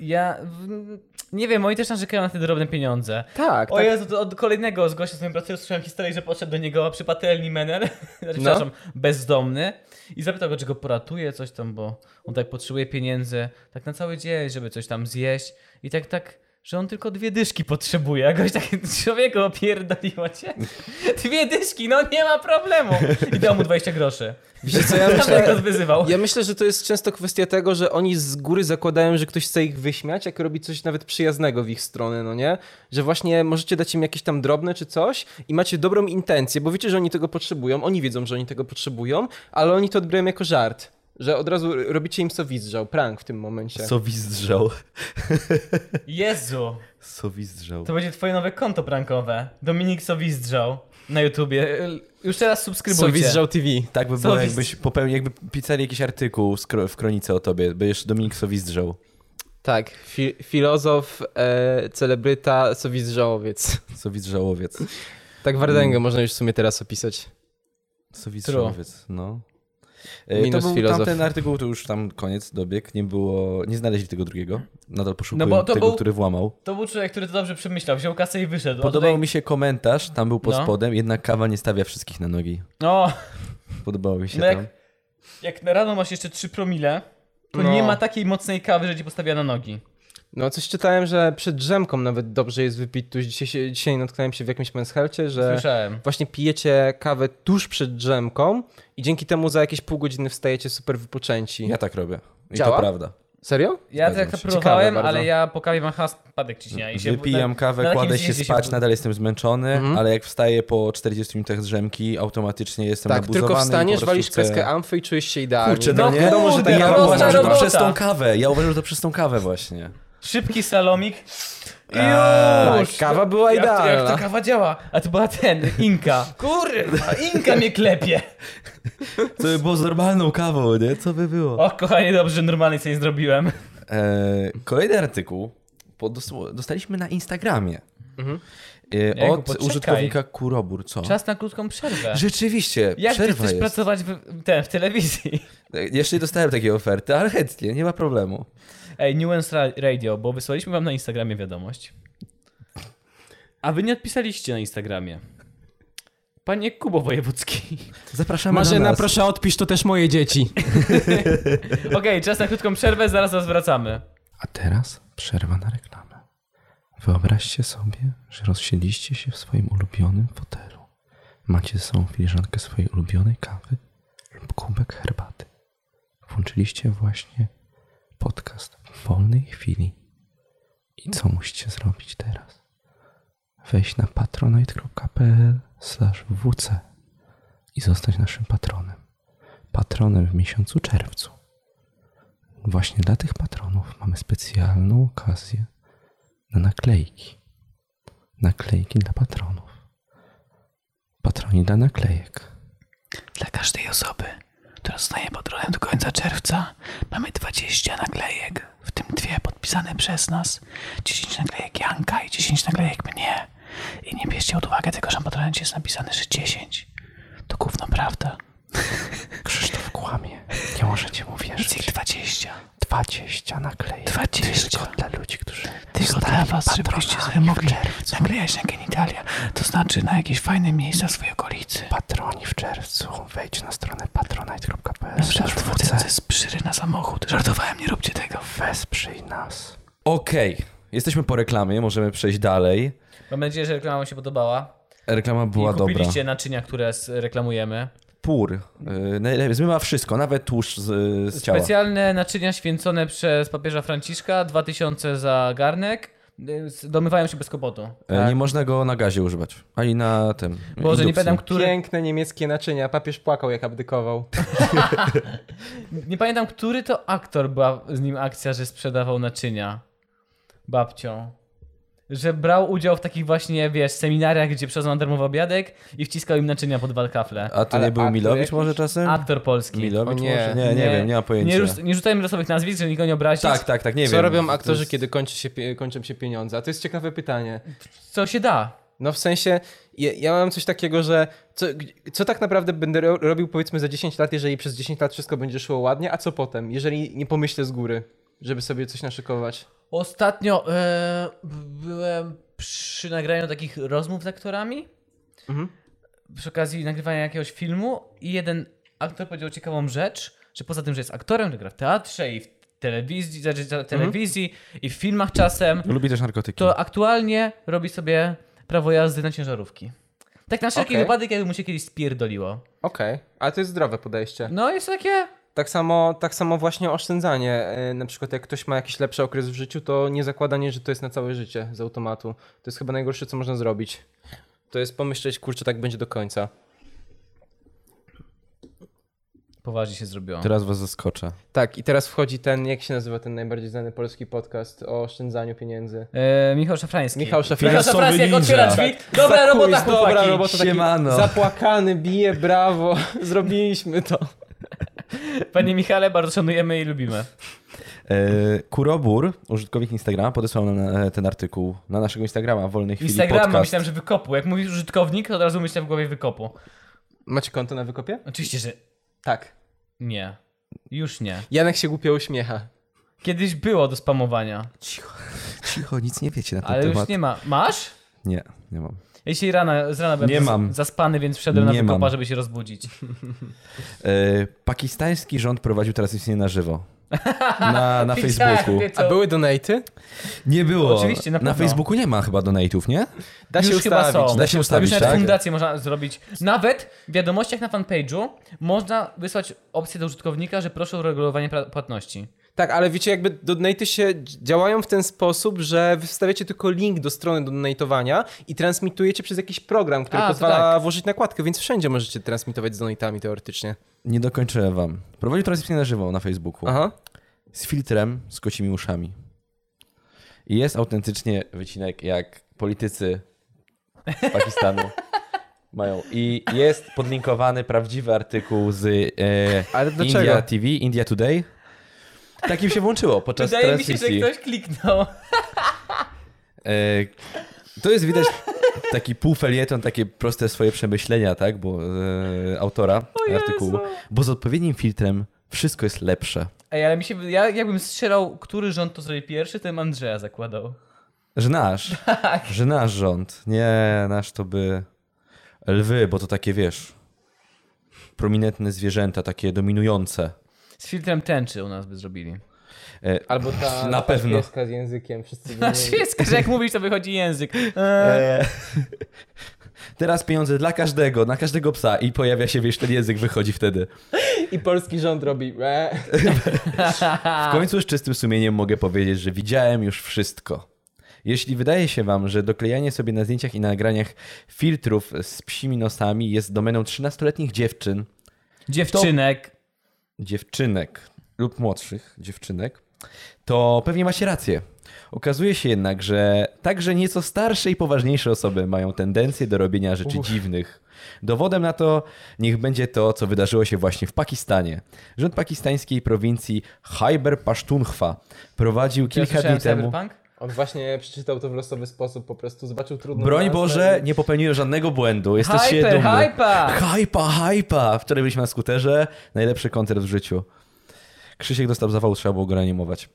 Ja w- nie wiem, oni też narzekają na te drobne pieniądze. Tak, O Jezu, to od kolejnego z gościa z mojej pracy słyszałem historię, że podszedł do niego przy patelni (laughs) mener, No. znaczy, przepraszam, bezdomny i zapytał go, czy go poratuje, coś tam, bo on tak potrzebuje pieniędzy, tak na cały dzień, żeby coś tam zjeść i tak, tak, że on tylko dwie dyszki potrzebuje, a gość tak, (laughs) człowieku, opierdoliło cię, (laughs) dwie dyszki, no nie ma problemu i dał mu 20 groszy. Wiecie co, (laughs) ja Tam myślę- tak go wyzywał. Ja myślę, że to jest często kwestia tego, że oni z góry zakładają, że ktoś chce ich wyśmiać, jak robi coś nawet przyjaznego w ich stronę, no nie? Że właśnie możecie dać im jakieś tam drobne czy coś i macie dobrą intencję, bo wiecie, że oni tego potrzebują, oni wiedzą, że oni tego potrzebują, ale oni to odbierają jako żart. Że od razu robicie im sowizdrzał, prank w tym momencie. Sowizdrzał. Jezu, Sowizdrzał. to będzie twoje nowe konto prankowe, Dominik Sowizdrzał na YouTubie, już teraz subskrybujcie. Sowizdrzał TV. Tak by było, Sowiz- jakbyś popełnił, jakby pisali jakiś artykuł z kro- w kronice o tobie, by jeszcze Dominik Sowizdrzał. Tak, fi filozof, e, celebryta, sowizdrzałowiec. Sowizdrzałowiec. Tak Wardęgę można już w sumie teraz opisać. Sowizdrzałowiec, no. E, Minus to był filozof. tamten artykuł, to już tam koniec dobieg, nie było, nie znaleźli tego drugiego. Nadal poszukują No bo to tego, był- który włamał. To był człowiek, który to dobrze przemyślał. Wziął kasę i wyszedł. A Podobał tutaj... mi się komentarz, tam był pod No. spodem, jednak kawa nie stawia wszystkich na nogi. No, Podobało mi się no tam. jak, jak na rano masz jeszcze 3 promile, to No. nie ma takiej mocnej kawy, że ci postawia na nogi. No, coś czytałem, że przed drzemką nawet dobrze jest wypić tuż. Dzisiaj, się- dzisiaj natknąłem się w jakimś menshelcie, że Słyszałem. właśnie pijecie kawę tuż przed drzemką i dzięki temu za jakieś pół godziny wstajecie super wypoczęci. Ja tak robię. I Działa? to prawda. Serio? Ja Zgadzam tak to się. próbowałem, Ciekawe bardzo. ale ja po kawie mam chyba spadek ciśnienia. I się Wypijam na- kawę, na takim kładę się zjeździe spać, bu- nadal jestem zmęczony, Mhm. ale jak wstaję po 40 minutach drzemki, automatycznie jestem Tak, nabuzowany. tylko i po wstaniesz, prostu walisz chcę- kreskę amfy i czujesz się idealnie. Kurczę, no no, nie? wiadomo, że ja, tak ja robota, uważam, że to robota. przez tą kawę. Ja uważam, że to przez tą kawę właśnie. Szybki salomik. Eee, Już! kawa była jak, to- Jak No idealna. to kawa działa? A to była ten, Inka. Kurwa, Inka mnie klepie. Co by było z normalną kawą, nie? Co by było? O, kochanie, dobrze, że normalnej sobie nie zrobiłem. E, kolejny artykuł po- dos- dostaliśmy na Instagramie. E, Mhm. Jejku, od poczekaj. użytkownika Kurobur, co? Czas na krótką przerwę. Rzeczywiście, Jak ty przerwa chcesz jest. pracować w, ten, w telewizji? E, Jeszcze nie dostałem takiej oferty, ale chętnie, nie ma problemu. Ej, Nuance Ra- Radio, bo wysłaliśmy wam na Instagramie wiadomość. A wy nie odpisaliście na Instagramie. Panie Kubo Wojewódzki. Zapraszamy na nas. odpisz, to też moje (laughs) dzieci. (laughs) Okej, czas na krótką przerwę, zaraz nas wracamy. A teraz przerwa na reklamę. Wyobraźcie sobie, że rozsiedliście się w swoim ulubionym fotelu. Macie ze sobą filiżankę swojej ulubionej kawy lub kubek herbaty. Włączyliście właśnie podcast w wolnej chwili. I co musicie zrobić teraz? Wejść na patronite.pl wc i zostać naszym patronem. Patronem w miesiącu czerwcu. Właśnie dla tych patronów mamy specjalną okazję na naklejki. Naklejki dla patronów. Patroni dla naklejek. Dla każdej osoby, która zostanie patronem do końca czerwca, mamy 20 naklejek, w tym dwie podpisane przez nas, 10 naklejek Janka i 10 naklejek mnie. I nie bierzcie pod uwagę tego, że na patronecie jest napisane, że 10. To gówno prawda. Krzysztof kłamie. Nie możecie mu Jest ich wierzyć. 20. 20 naklejek. 20. Tylko dla ludzi, którzy Tylko dla was, żebyście sobie mogli naklejać na genitalia, to znaczy na jakieś fajne miejsca w swojej okolicy. patroni w czerwcu. Wejdź na stronę patronite.pl. Żartwójce to jest przyry na samochód. Żartowałem, nie róbcie tego. Wesprzyj nas. Okej. Jesteśmy po reklamie, możemy przejść dalej. Mam nadzieję, że reklama wam się podobała. Reklama była I dobra. kupiliście naczynia, które s- reklamujemy. Pur. Yy, najlepiej- Zmywa wszystko, nawet tłuszcz z, z ciała. Specjalne naczynia święcone przez papieża Franciszka, 2000 za garnek. Y, s- Domywają się bez kłopotu. E, Nie można go na gazie używać. Ani na tym. Boże, nie indukcji. pamiętam, który Piękne niemieckie naczynia. Papież płakał, jak abdykował. Nie pamiętam, który to aktor była z nim akcja, że sprzedawał naczynia babcią. Że brał udział w takich właśnie, wiesz, seminariach, gdzie przychodzą na darmowy obiadek i wciskał im naczynia pod walkafle. A to Ale nie był aktor Milowicz jakiś? może czasem? Aktor polski. Milowicz O nie. może? Nie, nie, wiem, nie mam pojęcia. Nie, rzuc- nie rzucajmy losowych nazwisk, żeby nikogo nie obrazić. tak, tak, tak, nie Co wiem. robią To aktorzy, jest- kiedy kończy się, pie- kończą się pieniądze? A to jest ciekawe pytanie. Co się da? No w sensie, ja, ja mam coś takiego, że co, co tak naprawdę będę ro- robił powiedzmy za 10 lat, jeżeli przez 10 lat wszystko będzie szło ładnie, a co potem, jeżeli nie pomyślę z góry, żeby sobie coś naszykować? Ostatnio e, b- byłem przy nagraniu takich rozmów z aktorami. Mhm. Przy okazji nagrywania jakiegoś filmu i jeden aktor powiedział ciekawą rzecz, że poza tym, że jest aktorem, że gra w teatrze i w telewizji, znaczy w Mhm. telewizji i w filmach czasem, Lubi też narkotyki. to aktualnie robi sobie prawo jazdy na ciężarówki. Tak na wszelki Okej. wypadek, jakby mu się kiedyś spierdoliło. Okej, ale to jest zdrowe podejście. No jest takie... Tak samo, tak samo właśnie oszczędzanie. e, Na przykład jak ktoś ma jakiś lepszy okres w życiu, to nie zakładanie, że to jest na całe życie z automatu. To jest chyba najgorsze, co można zrobić. To jest pomyśleć, kurczę, tak będzie do końca. Poważnie się zrobiło. Teraz was zaskoczę. Tak, i teraz wchodzi ten, jak się nazywa ten najbardziej znany polski podcast o oszczędzaniu pieniędzy. E, Michał Szafrański. Michał Szafrański. Finansowy Szafrański, jak otwiera Tak. ninja. drzwi. Dobra Za robota, kulis, Dobra chłopaki. robota, taki Siemano. zapłakany, bije, brawo, (laughs) zrobiliśmy to. Panie Michale, bardzo szanujemy i lubimy. E, Kurobur, użytkownik Instagrama, podesłał nam e, ten artykuł na naszego Instagrama w wolnej chwili Instagrama podcast. myślałem, że wykopu. Jak mówisz użytkownik, to od razu myślałem w głowie wykopu. Macie konto na wykopie? Oczywiście, że Tak. nie. Już nie. Janek się głupio uśmiecha. Kiedyś było do spamowania, Cicho, nic nie wiecie na ten ale już temat. nie ma. Masz? nie, nie mam. Ja dzisiaj rana, z rana byłem Nie zas- mam. zaspany, więc wszedłem na Nie wykopa, mam. żeby się rozbudzić. E, pakistański rząd prowadził teraz istnienie na (laughs) żywo. Na, na Widziałem, Facebooku. wie co? A były donaty? Nie było. Oczywiście, na na pewno. Facebooku nie ma chyba donate'ów, nie? Da się Już chyba ustawić. są. Da się ustawić, Już nawet tak? fundację można zrobić. Nawet w wiadomościach na fanpage'u można wysłać opcję do użytkownika, że proszę o regulowanie pra- płatności. Tak, ale wiecie, jakby donaty się dz- działają w ten sposób, że wy wstawiacie tylko link do strony do donatowania i transmitujecie przez jakiś program, A, który to tak. pozwala włożyć nakładkę, więc wszędzie możecie transmitować z donatami teoretycznie. Nie dokończyłem wam. Prowadził teraz istnienie na żywo na Facebooku. Aha. z filtrem, z kocimi uszami. I jest autentycznie wycinek, jak politycy Pakistanu (laughs) mają. I jest podlinkowany prawdziwy artykuł z e, Ale dlaczego? India TV, India Today. Takim się włączyło podczas Wydaje mi się, że transmisji. ktoś kliknął. E, to jest widać taki półfelieton, takie proste swoje przemyślenia, tak? Bo e, autora artykułu. Bo z odpowiednim filtrem wszystko jest lepsze. Ej, ale mi się. Ja jakbym strzelał, który rząd to zrobi pierwszy, to bym Andrzeja zakładał. Że nasz. Że nasz rząd. Nie, nasz to by. Lwy, bo to takie wiesz. Prominentne zwierzęta, takie dominujące. Z filtrem tęczy u nas by zrobili. (laughs) E, Albo ta, Na ta pewno. pieska z językiem. Wszyscy Na by- świeckę, Znaczy, że jak mówisz, to wychodzi język. Eee, e, teraz pieniądze dla każdego, na każdego psa i pojawia się, wiesz, ten język wychodzi wtedy. I polski rząd robi. "Eee". W końcu z czystym sumieniem mogę powiedzieć, że widziałem już wszystko. Jeśli wydaje się wam, że doklejanie sobie na zdjęciach i nagraniach filtrów z psimi nosami jest domeną 13-letnich dziewczyn, Dziewczynek. dziewczynek lub młodszych dziewczynek, to pewnie macie rację. Okazuje się jednak, że także nieco starsze i poważniejsze osoby mają tendencję do robienia rzeczy dziwnych. Dowodem na to niech będzie to, co wydarzyło się właśnie w Pakistanie. Rząd pakistańskiej prowincji Khyber Pakhtunkhwa prowadził Czy ja kilka słyszałem dni temu. Cyberpunk? On właśnie przeczytał to w losowy sposób, po prostu zobaczył no, trudną. Broń nazwę Boże, nie popełniłem żadnego błędu. Jesteście Hyper, dumni. hypa! Hypa, hypa! Wczoraj byliśmy na skuterze. Najlepszy koncert w życiu. Krzysiek dostał zawału, trzeba było go reanimować.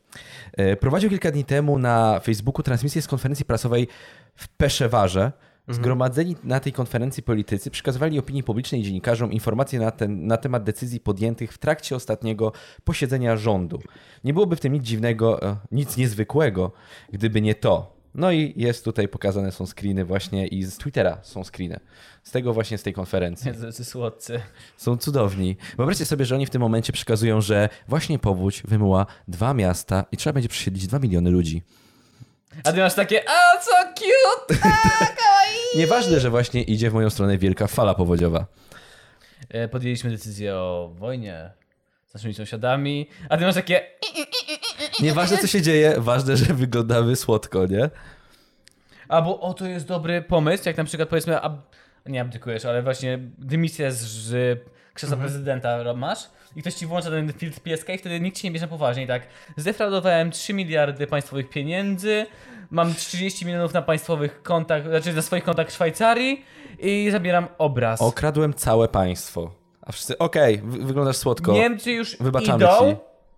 E, Prowadził kilka dni temu na Facebooku transmisję z konferencji prasowej w Peszewarze. Zgromadzeni na tej konferencji politycy przekazywali opinii publicznej i dziennikarzom informacje na, ten, na temat decyzji podjętych w trakcie ostatniego posiedzenia rządu. Nie byłoby w tym nic dziwnego, e, nic niezwykłego, gdyby nie to. No i jest tutaj pokazane są screeny właśnie i z Twittera są screeny. Z tego właśnie z tej konferencji. Jezu, jacy słodcy. Są cudowni. Wyobraźcie sobie, że oni w tym momencie przekazują, że właśnie powódź wymyła dwa miasta i trzeba będzie przesiedlić dwa miliony ludzi. A ty masz takie, a co cute! Nieważne, że właśnie idzie w moją stronę wielka fala powodziowa. E, Podjęliśmy decyzję o wojnie z naszymi sąsiadami, a ty masz takie, Nieważne, co się dzieje, ważne, że wyglądamy słodko, nie? albo o to jest dobry pomysł, jak na przykład powiedzmy, ab... nie abdykujesz, ale właśnie dymisję z, z krzesła prezydenta ro- masz i ktoś ci włącza ten filtr pieska i wtedy nikt ci nie bierze na poważnie. I tak, zdefraudowałem 3 miliardy państwowych pieniędzy, mam 30 milionów na państwowych kontach, znaczy na swoich kontach w Szwajcarii i zabieram obraz. Okradłem całe państwo. A wszyscy, okej, wy- wyglądasz słodko. Niemcy już Wybaczamy idą, ci.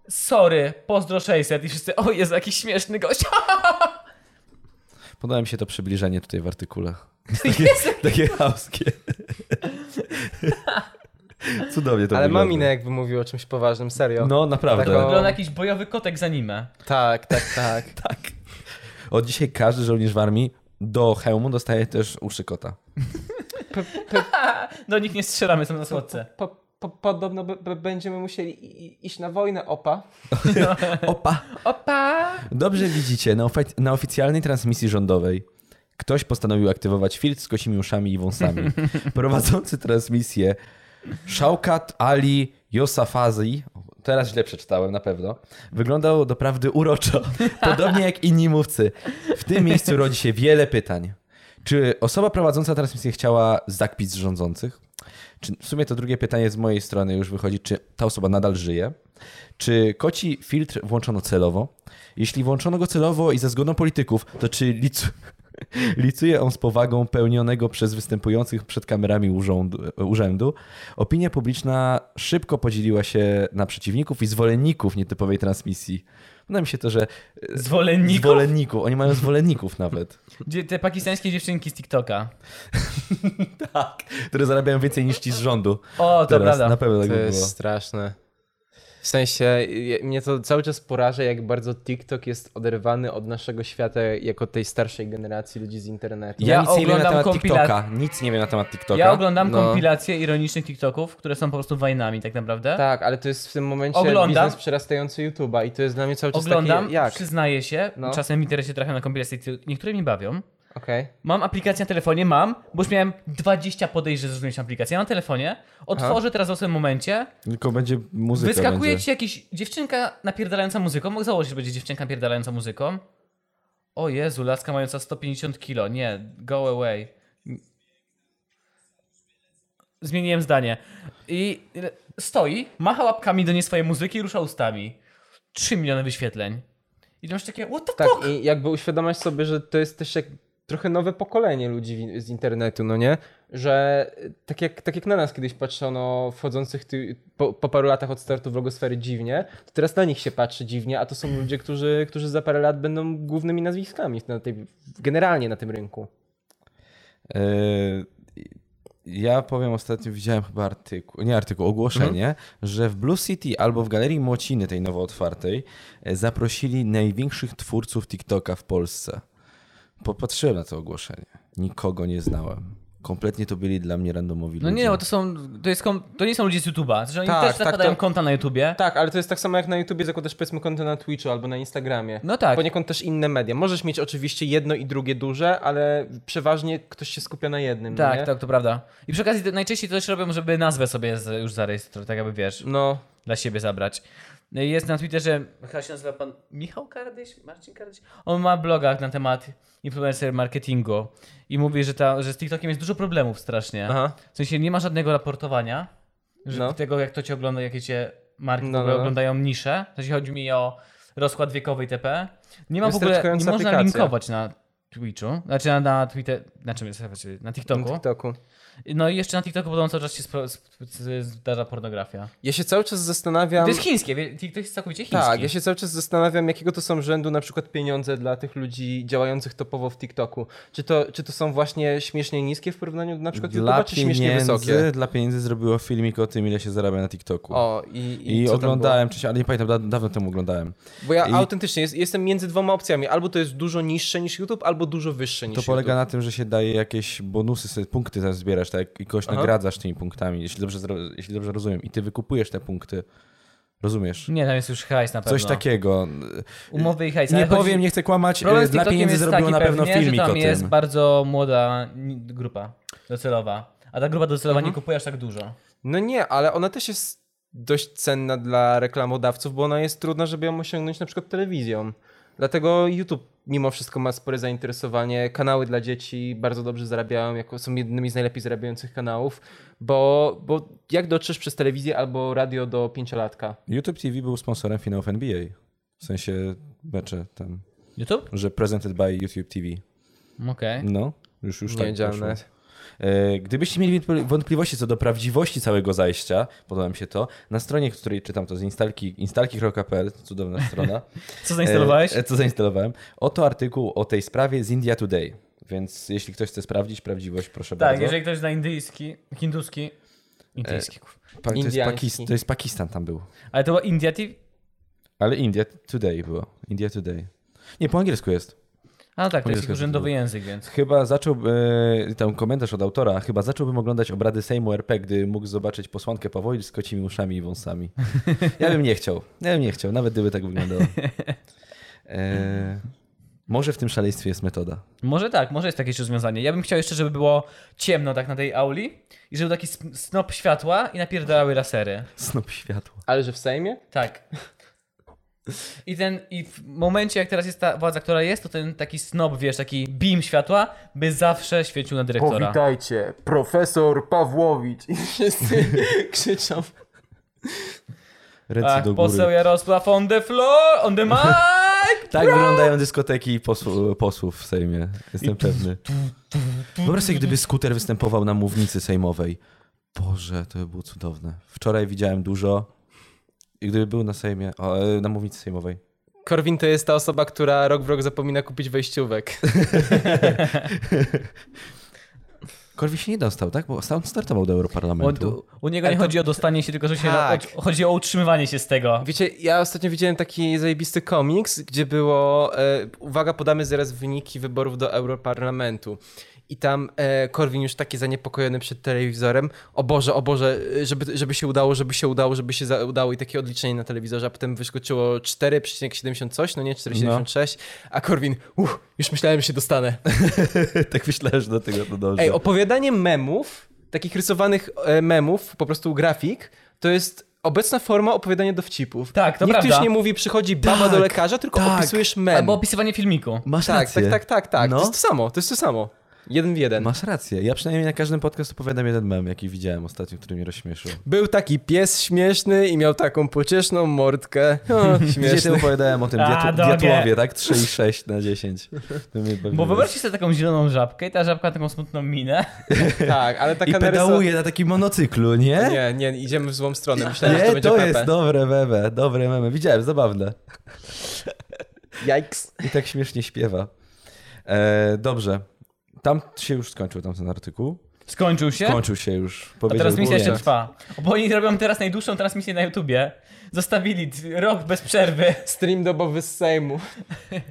sorry, pozdro 600 i wszyscy, o jest jakiś śmieszny gość. (laughs) Podoba mi się to przybliżenie tutaj w artykule. Jezu, Takie chamskie. Cudownie to Ale wygląda. ma minę, jakby mówił o czymś poważnym, serio. No, Tak, naprawdę. no. Wygląda jakiś bojowy kotek z anime. Tak, tak, tak. (laughs) Tak. Od dzisiaj każdy żołnierz w armii do hełmu dostaje też uszy kota. Do nich nie strzelamy, są na słodce. (laughs) Po, po, podobno b- b- będziemy musieli i- i- iść na wojnę, opa. Opa! Opa! Dobrze widzicie, na, ofe- na oficjalnej transmisji rządowej ktoś postanowił aktywować filtr z kosimi uszami i wąsami. Prowadzący transmisję Szałkat Ali Yosafazi, teraz źle przeczytałem na pewno, wyglądał doprawdy uroczo, podobnie jak inni mówcy. W tym miejscu rodzi się wiele pytań. Czy osoba prowadząca transmisję chciała zakpić z rządzących? Czy, w sumie to drugie pytanie z mojej strony już wychodzi, czy ta osoba nadal żyje? Czy koci filtr włączono celowo? Jeśli włączono go celowo i za zgodą polityków, to czy lic... (laughs) licuje on z powagą pełnionego przez występujących przed kamerami urządu, urzędu? Opinia publiczna szybko podzieliła się na przeciwników i zwolenników nietypowej transmisji. Wydaje mi się to, że... Zwolenników? Zwolenników. Oni mają zwolenników nawet. Gdzie te pakistańskie dziewczynki z TikToka. Tak. Które zarabiają więcej niż ci z rządu. O, No to Teraz, prawda. Na pewno tak To by jest było. straszne. W sensie, je- mnie to cały czas poraża, jak bardzo TikTok jest oderwany od naszego świata jako tej starszej generacji ludzi z internetu. Ja, Ja nic nie wiem na oglądam temat kompila- TikToka. Nic nie wiem na temat TikToka. Ja oglądam No. kompilacje ironicznych TikToków, które są po prostu wajnami tak naprawdę. Tak, ale to jest w tym momencie Oglądam. biznes przerastający YouTube'a i to jest dla mnie cały czas Oglądam, takie jak? przyznaję się, No. czasem w internecie trafiam na kompilacje, które- niektóre mi bawią. Okej. Mam aplikację na telefonie, mam, bo już miałem 20 podejść, że zrozumieć aplikację. Ja mam na telefonie, otworzę teraz w tym momencie, Tylko będzie muzyka. Wyskakuje będzie. ci jakiś dziewczynka napierdalająca muzyką. Mogę założyć, że będzie dziewczynka napierdalająca muzyką. O Jezu, laska mająca 150 kilo. Nie, go away. Zmieniłem zdanie. I stoi, macha łapkami do niej swojej muzyki i rusza ustami. 3 miliony wyświetleń. I masz takie, what the Tak, fuck? i jakby uświadamiać sobie, że to jest też jak trochę nowe pokolenie ludzi w, z internetu, no nie? Że tak jak, tak jak na nas kiedyś patrzono wchodzących ty, po, po paru latach od startu vlogosfery dziwnie, to teraz na nich się patrzy dziwnie, a to są ludzie, którzy, którzy za parę lat będą głównymi nazwiskami na tej, generalnie na tym rynku. Eee, Ja powiem ostatnio, widziałem chyba artykuł, nie artykuł, ogłoszenie, że w Blue City albo w Galerii Młociny, tej nowo otwartej, e, zaprosili największych twórców TikToka w Polsce. Popatrzyłem na to ogłoszenie. Nikogo nie znałem. Kompletnie to byli dla mnie randomowi No ludzie. nie, bo to są, to, jest, kom- to nie są ludzie z YouTube'a. Że oni Tak, też tak, zakładają to- konta na YouTubie. Tak, ale to jest tak samo jak na YouTubie zakładasz powiedzmy konto na Twitchu albo na Instagramie. No tak. Poniekąd też inne media. Możesz mieć oczywiście jedno i drugie duże, ale przeważnie ktoś się skupia na jednym, no Tak, nie? tak, to prawda. I przy okazji to najczęściej to też robią, żeby nazwę sobie z- już zarejestrować, tak aby wiesz. No, dla siebie zabrać. Jest na Twitterze, chyba się nazywa pan Michał Kardyś, Marcin Kardyś. On ma blogach na temat influencer marketingu i mówi, że, ta, że z TikTokiem jest dużo problemów strasznie. aha. W sensie nie ma żadnego raportowania, że No. tego jak to cię ogląda, jakie cię marki No, w ogóle no, no. oglądają nisze. W sensie chodzi mi o rozkład wiekowy itp. Nie ma w ogóle, nie Wystarczająca można aplikacja. linkować na Twitchu, znaczy na, na Twitter, na czym jest, znaczy na Na TikToku. TikToku. No i jeszcze na TikToku podobno cały czas się spro- sp- z- zdarza pornografia. Ja się cały czas zastanawiam. To jest chińskie, wie- TikTok jest całkowicie chiński. tak, ja się cały czas zastanawiam, jakiego to są rzędu na przykład pieniądze dla tych ludzi działających topowo w TikToku. Czy to, czy to są właśnie śmiesznie niskie w porównaniu do na przykład dla YouTube'a, czy śmiesznie wysokie? pieniędzy, dla pieniędzy zrobiło filmik o tym, ile się zarabia na TikToku. O, i, i, I, co tam oglądałem, czy się, ale nie pamiętam, da, dawno temu oglądałem. Było? Bo ja i- autentycznie jest, jestem między dwoma opcjami. Albo to jest dużo niższe niż YouTube, albo dużo wyższe niż To YouTube. polega na tym, że się daje jakieś bonusy, sobie punkty tam zbierasz, tak? I kogoś Aha. nagradzasz tymi punktami, jeśli dobrze, zro- jeśli dobrze rozumiem. I ty wykupujesz te punkty. Rozumiesz? Nie, tam jest już hajs na pewno. Coś takiego. Umowy i hajs. Nie ale powiem, chodzi- nie chcę kłamać. e, Problem z Dla TikTokiem pieniędzy jest zrobiło taki na pewno pewnie, filmik że o tam tym. jest bardzo młoda ni- grupa docelowa. A ta grupa docelowa Mhm. nie kupuje aż tak dużo. No nie, ale ona też jest dość cenna dla reklamodawców, bo ona jest trudna, żeby ją osiągnąć na przykład telewizją. Dlatego YouTube mimo wszystko ma spore zainteresowanie. Kanały dla dzieci bardzo dobrze zarabiają, jako są jednymi z najlepiej zarabiających kanałów, bo, bo jak dotrzesz przez telewizję albo radio do pięciolatka? YouTube TV był sponsorem finałów NBA. W sensie mecze tam, YouTube? że presented by YouTube TV. Okej. No, już, już Mm. Nie tak wiedziałem poszło. nawet. E, Gdybyście mieli wątpli- wątpliwości co do prawdziwości całego zajścia, podoba mi się to, na stronie, której czytam to z instalki, instalki.pl, cudowna strona. Co zainstalowałeś? E, e, Co zainstalowałem. Oto artykuł o tej sprawie z India Today. Więc jeśli ktoś chce sprawdzić prawdziwość, proszę tak, bardzo. E. jeżeli ktoś zna indyjski, hinduski, indyjski, kurwa. Pa, to, jest Indiański. Pakis, to jest Pakistan tam był. Ale to była India TV? Ale India Today było. India Today. Nie, po angielsku jest. A tak, to jest Angielska ich urzędowy tytuł. język, więc. Chyba zaczął, e, tam komentarz od autora, chyba zacząłbym oglądać obrady Sejmu RP, gdy mógł zobaczyć posłankę Powoli z kocimi uszami i wąsami. Ja bym nie chciał. Ja bym nie chciał, nawet gdyby tak wyglądało. E, może w tym szaleństwie jest metoda. Może tak, może jest jakieś rozwiązanie. Ja bym chciał jeszcze, żeby było ciemno tak na tej auli i żeby był taki sp- snop światła i napierdalały lasery. Snop światła. Ale że w Sejmie? (laughs) Tak. I ten, i w momencie jak teraz jest ta władza, która jest, to ten taki snop, wiesz, taki beam światła, by zawsze świecił na dyrektora. Powitajcie, profesor Pawłowicz. I wszyscy krzyczą. Ręce Ach, do góry. poseł Jarosław on the floor, on the mic! Tak wyglądają dyskoteki posłu, posłów w Sejmie. Jestem pewny. Wyobraź sobie, gdyby skuter występował na mównicy sejmowej. Boże, to by było cudowne. Wczoraj widziałem dużo. I gdyby był na Sejmie, o, e, na mównicy sejmowej. Korwin to jest ta osoba, która rok w rok zapomina kupić wejściówek. Korwin się nie dostał, tak? Bo sam startował do Bo Europarlamentu. tu, u niego nie Ale to- chodzi o dostanie się, tylko że się Tak. o, chodzi o utrzymywanie się z tego. Wiecie, ja ostatnio widziałem taki zajebisty komiks, gdzie było. E, uwaga, podamy zaraz wyniki wyborów do Europarlamentu. I tam e, Korwin już taki zaniepokojony przed telewizorem. O Boże, o Boże, e, żeby, żeby się udało, żeby się udało, żeby się za- udało. I takie odliczenie na telewizorze, a potem wyskoczyło 4,70 coś, no nie 4,76. A Korwin, uff, już myślałem, że się dostanę. (laughs) tak myślałem, że do tego to dąży. Ej, opowiadanie memów, takich rysowanych e, memów, po prostu grafik, to jest obecna forma opowiadania dowcipów. Tak, to Nikt prawda. już nie mówi, przychodzi baba Tak, do lekarza, tylko tak. opisujesz mem. Albo opisywanie filmiku. Masz tak, rację. tak, tak, tak, tak. No. To jest to samo, to jest to samo. Jeden w jeden. Masz rację. Ja przynajmniej na każdym podcast opowiadam jeden mem, jaki widziałem ostatnio, który mnie rozśmieszył. Był taki pies śmieszny i miał taką pocieszną (laughs) mordkę. O, Dzisiaj śmieszny. ty opowiadałem o tym (laughs) A, diatu- dogie. diatłowie, tak? 3,6 na 10. To mnie Bo bawiło. wyobraźcie sobie taką zieloną żabkę i ta żabka ma taką smutną minę. Tak, ale I taka pedałuje na takim monocyklu, nie? Nie, nie, idziemy w złą stronę. Myślałem, że to Nie, będzie to Pepe. jest no. dobre meme, dobre meme. Widziałem, zabawne. Yikes. I tak śmiesznie śpiewa. E, dobrze. Tam się już skończył tam ten artykuł. Skończył się? Kończył się już. A Powiedział transmisja Guliak. jeszcze trwa. Bo oni robią teraz najdłuższą transmisję na YouTubie. Zostawili d- rok bez przerwy. Stream dobowy z Sejmu.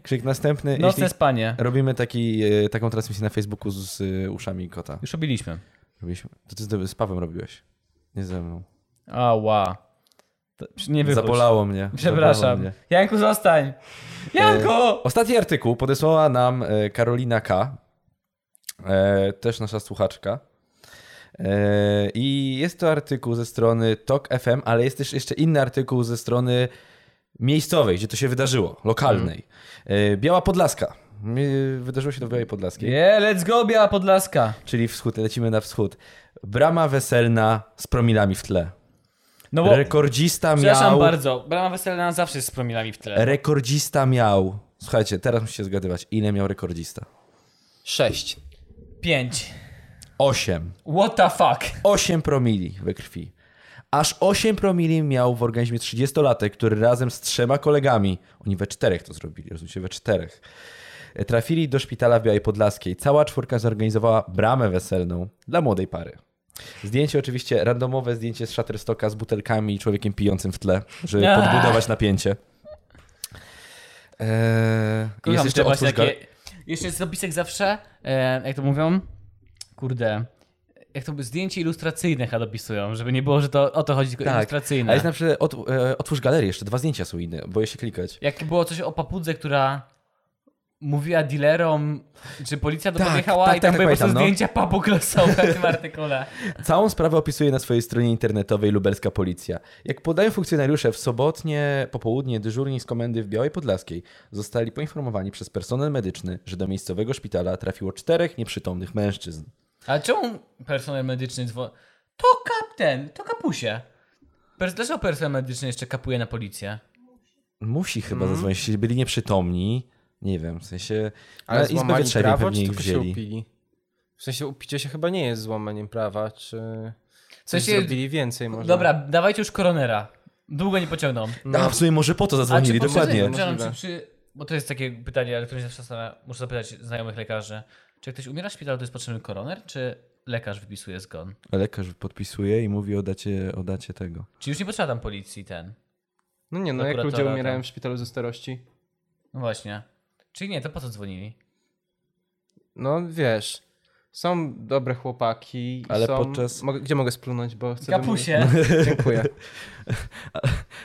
Krzyk następny. Nocne jeśli... spanie. Robimy taki, e, taką transmisję na Facebooku z e, uszami kota. Już robiliśmy. Robiliśmy. To ty z, z Pawem robiłeś. Nie ze mną. Ała. To- Nie wychodź. Zabolało mnie. Zabolało Przepraszam. mnie. Janku, zostań. Janku! Ostatni artykuł podesłała nam e, Karolina K., e, też nasza słuchaczka. E, I jest to artykuł ze strony TOK FM, ale jest też jeszcze inny artykuł ze strony miejscowej, gdzie to się wydarzyło, lokalnej. E, Biała Podlaska. Mi- Wydarzyło się to w Białej Podlaskiej, Yeah, let's go, Biała Podlaska. czyli wschód, lecimy na wschód. Brama weselna z promilami w tle. No bo, Rekordzista przepraszam miał... bardzo, Brama Weselna zawsze jest z promilami w tle. Rekordzista miał... Słuchajcie, teraz musicie zgadywać, ile miał rekordzista. Sześć. Pięć. Osiem. What the fuck? 8 promili we krwi. Aż 8 promili miał w organizmie 30-latek, który razem z trzema kolegami, oni we czterech to zrobili, rozumiecie, we czterech, e, trafili do szpitala w Białej Podlaskiej. Cała czwórka zorganizowała bramę weselną dla młodej pary. Zdjęcie oczywiście, randomowe zdjęcie z Shutterstocka z butelkami i człowiekiem pijącym w tle, żeby Ah. podbudować napięcie. Eee, jest Kocham jeszcze te otwórz właśnie takie... takie... Jeszcze jest opisek zawsze, e, jak to mówią, kurde, jak to by- zdjęcie ilustracyjne chyba dopisują, żeby nie było, że to o to chodzi, tylko A ilustracyjne. Tak, jest na przykład ot, e, otwórz galerię, jeszcze dwa zdjęcia są inne, boję się klikać. Jak było coś o papudze, która mówiła dealerom, że policja do Tak, podjechała tak, i tak, tam tak, były po prostu pamiętam, no. zdjęcia papug losowe w tym artykule. Całą sprawę opisuje na swojej stronie internetowej lubelska policja. Jak podają funkcjonariusze, w sobotnie popołudnie dyżurni z komendy w Białej Podlaskiej zostali poinformowani przez personel medyczny, że do miejscowego szpitala trafiło czterech nieprzytomnych mężczyzn. A czemu personel medyczny dzwoni? To kapten, to kapusie. Pers- Dlaczego personel medyczny jeszcze kapuje na policję? Musi chyba Mhm. zadzwonić, jeśli byli nieprzytomni. Nie wiem, w sensie... Ale na izbę złamali wytrzebie prawo, pewnie czy ich tylko się wzięli. upili? W sensie upicie się chyba nie jest złamaniem prawa, czy coś sensie- zrobili więcej może. No. Dobra, dawajcie już koronera. Długo nie pociągną. A, w sumie może po to zadzwonili, A czy dokładnie. Czy, przepraszam, Możliwe. czy przy, bo to jest takie pytanie, ale które mnie zawsze zastanawia, muszę zapytać znajomych lekarzy. Czy jak ktoś umiera w szpitalu, to jest potrzebny koroner, czy lekarz wypisuje zgon? Lekarz podpisuje i mówi o dacie, o dacie tego. Czy już nie potrzeba tam policji ten? No nie, no jak Prokuratora, ludzie umierają tak. w szpitalu ze starości. No właśnie. Czyli nie, to po co dzwonili? No wiesz, są dobre chłopaki. Ale są... podczas- Mogę... Gdzie mogę splunąć, bo chcę... Kapusie! wymówić. (laughs) Dziękuję.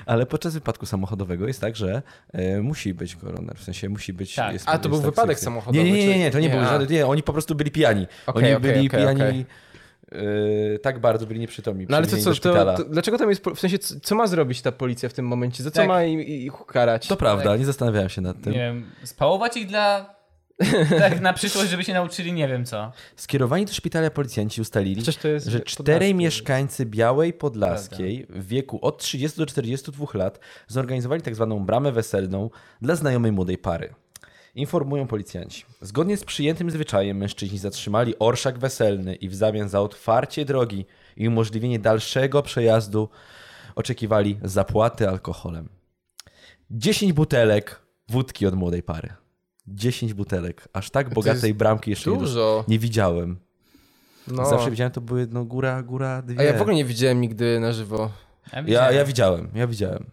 Ale podczas wypadku samochodowego jest tak, że e, musi być koroner, w sensie musi być... Tak. jest- A, to był jest tak wypadek sekcja. samochodowy, Nie, nie, nie, nie, czyli- nie to nie, nie, był a. żaden... Nie, oni po prostu byli pijani. Okej, oni okej, byli okej, pijani... okej. e, tak bardzo byli nieprzytomni. No ale to przewiezieni co, do szpitala. to, to, dlaczego tam jest... po- W sensie, co, co ma zrobić ta policja w tym momencie? Za co Tak. ma im- ich karać? To prawda, nie zastanawiałem się nad tym. Nie wiem, spałować ich (laughs) dla... Tak na przyszłość, żeby się nauczyli nie wiem co. Skierowani do szpitala policjanci ustalili, Przecież to jest że podlaski. czterej mieszkańcy Białej Podlaskiej w wieku od 30 do 42 lat zorganizowali tak zwaną bramę weselną dla znajomej młodej pary. Informują policjanci. Zgodnie z przyjętym zwyczajem mężczyźni zatrzymali orszak weselny i w zamian za otwarcie drogi i umożliwienie dalszego przejazdu oczekiwali zapłaty alkoholem. 10 butelek wódki od młodej pary. 10 butelek. Aż tak bogatej bramki jeszcze nie dosz- Dużo. nie widziałem. No. Zawsze widziałem, to były no góra, góra, dwie. A ja w ogóle nie widziałem nigdy na żywo. ja, widziałem. ja widziałem, ja widziałem.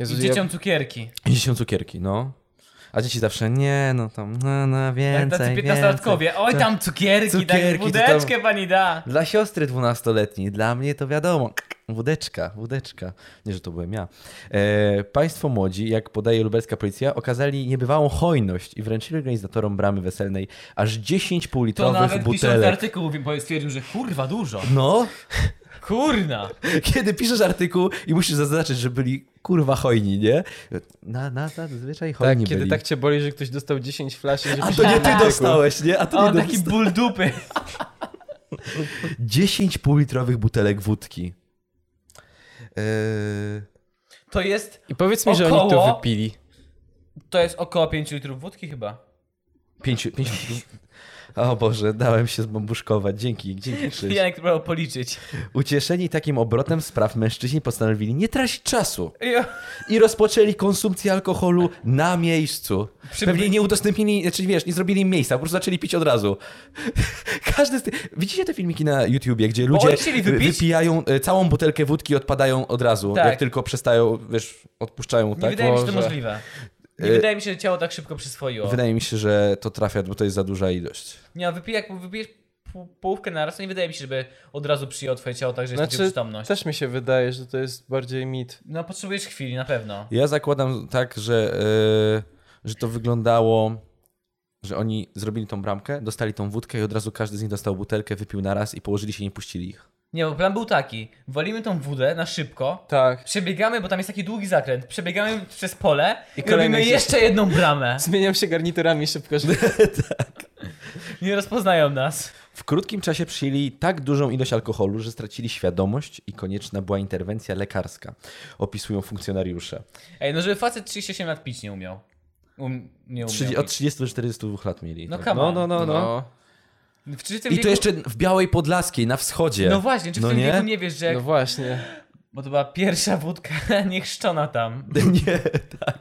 Jezu, I ja- dzieciom cukierki. I Dziecią cukierki, no. A dzieci zawsze, nie, no tam, no, no Jak więcej, Tak, tacy więcej. 15-latkowie. Oj tam cukierki, Cukierki, tak to budeczkę pani da. Dla siostry dwunastoletniej, dla mnie to wiadomo. Wódeczka, wódeczka. Nie, że to byłem ja. E, państwo młodzi, jak podaje lubelska policja, okazali niebywałą hojność i wręczyli organizatorom bramy weselnej aż 10 To półlitrowych nawet pisząc butelek. artykuł bo stwierdził, że kurwa dużo. No, Kurna! (laughs) Kiedy piszesz artykuł i musisz zaznaczyć, że byli kurwa hojni, nie? Na, na, zazwyczaj Tak, hojni kiedy byli. tak cię boli, że ktoś dostał 10 flaszy, A to nie ty dostałeś, nie? A to O, nie taki taki... ból dupy. 10 półlitrowych butelek wódki. Eee, To jest, I powiedz mi, że oni Około- to wypili. to jest około 5 litrów wódki chyba. pięć, pięć... O Boże, dałem się zbambuszkować. Dzięki, dzięki Krzyś. Janek próbował policzyć. (laughs) Ucieszeni takim obrotem spraw mężczyźni postanowili nie tracić czasu i rozpoczęli konsumpcję alkoholu na miejscu. Przy- Pewnie nie udostępnili, znaczy wiesz, nie zrobili im miejsca, po prostu zaczęli pić od razu. (laughs) Każdy z tych... Widzicie te filmiki na YouTubie, gdzie ludzie oni chcieli wypić? wypijają e, całą butelkę wódki i odpadają od razu, Tak. jak tylko przestają, wiesz, odpuszczają, Nie tak? wydaje mi się to Boże. możliwe. Nie Y- wydaje mi się, że ciało tak szybko przyswoiło. Wydaje mi się, że to trafia, bo to jest za duża ilość. Nie, a wypij, jak wypijesz pół- połówkę naraz, to nie wydaje mi się, żeby od razu przyjęło twoje ciało tak, że jest Znaczy, przytomność. też mi się wydaje, że to jest bardziej mit. No potrzebujesz chwili, na pewno. Ja zakładam tak, że, e, że to wyglądało, że oni zrobili tą bramkę, dostali tą wódkę i od razu każdy z nich dostał butelkę, wypił naraz i położyli się i nie puścili ich. Nie, bo plan był taki. Walimy tą wódę na szybko. Tak. Przebiegamy, bo tam jest taki długi zakręt. Przebiegamy przez pole i, kolejny robimy jest- jeszcze jedną (laughs) bramę. Zmieniam się garniturami szybko, że... Nie rozpoznają nas. W krótkim czasie przyjęli tak dużą ilość alkoholu, że stracili świadomość i konieczna była interwencja lekarska, opisują funkcjonariusze. Ej, no żeby facet 38 lat pić nie umiał. Um, nie umiał. Trzydzie- od 30 do 42 lat mieli. No Tak. come no, on. no, no, no. W czy tym I wieku... to jeszcze w Białej Podlaskiej, na wschodzie. No właśnie, czy w No tym nie? wieku nie wiesz, że... No Jak... właśnie. Bo to była pierwsza wódka (laughs) niechrzczona tam. (laughs) nie, tak.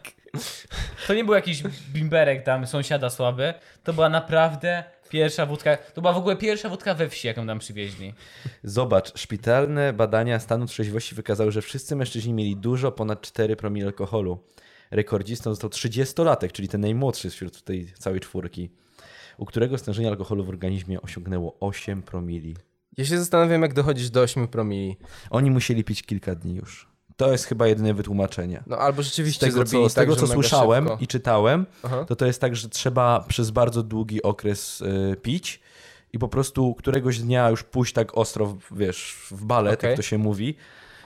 To nie był jakiś bimberek tam sąsiada słaby. To była naprawdę pierwsza wódka... To była w ogóle pierwsza wódka we wsi, jaką nam przywieźli. No Zobacz, szpitalne badania stanu trzeźwości wykazały, że wszyscy mężczyźni mieli dużo ponad 4 promil alkoholu. Rekordzistą został 30-latek, czyli ten najmłodszy wśród tej całej czwórki, u którego stężenie alkoholu w organizmie osiągnęło 8 promili. Ja się zastanawiam, jak dochodzisz do 8 promili. Oni musieli pić kilka dni już. To jest chyba jedyne wytłumaczenie. No albo Z rzeczywiście tego, zrobili co, z tego, tak, co że mega słyszałem szybko. i czytałem, Aha. to to jest tak, że trzeba przez bardzo długi okres y, pić i po prostu któregoś dnia już pójść tak ostro, w, wiesz, w balet, Okej. jak to się mówi,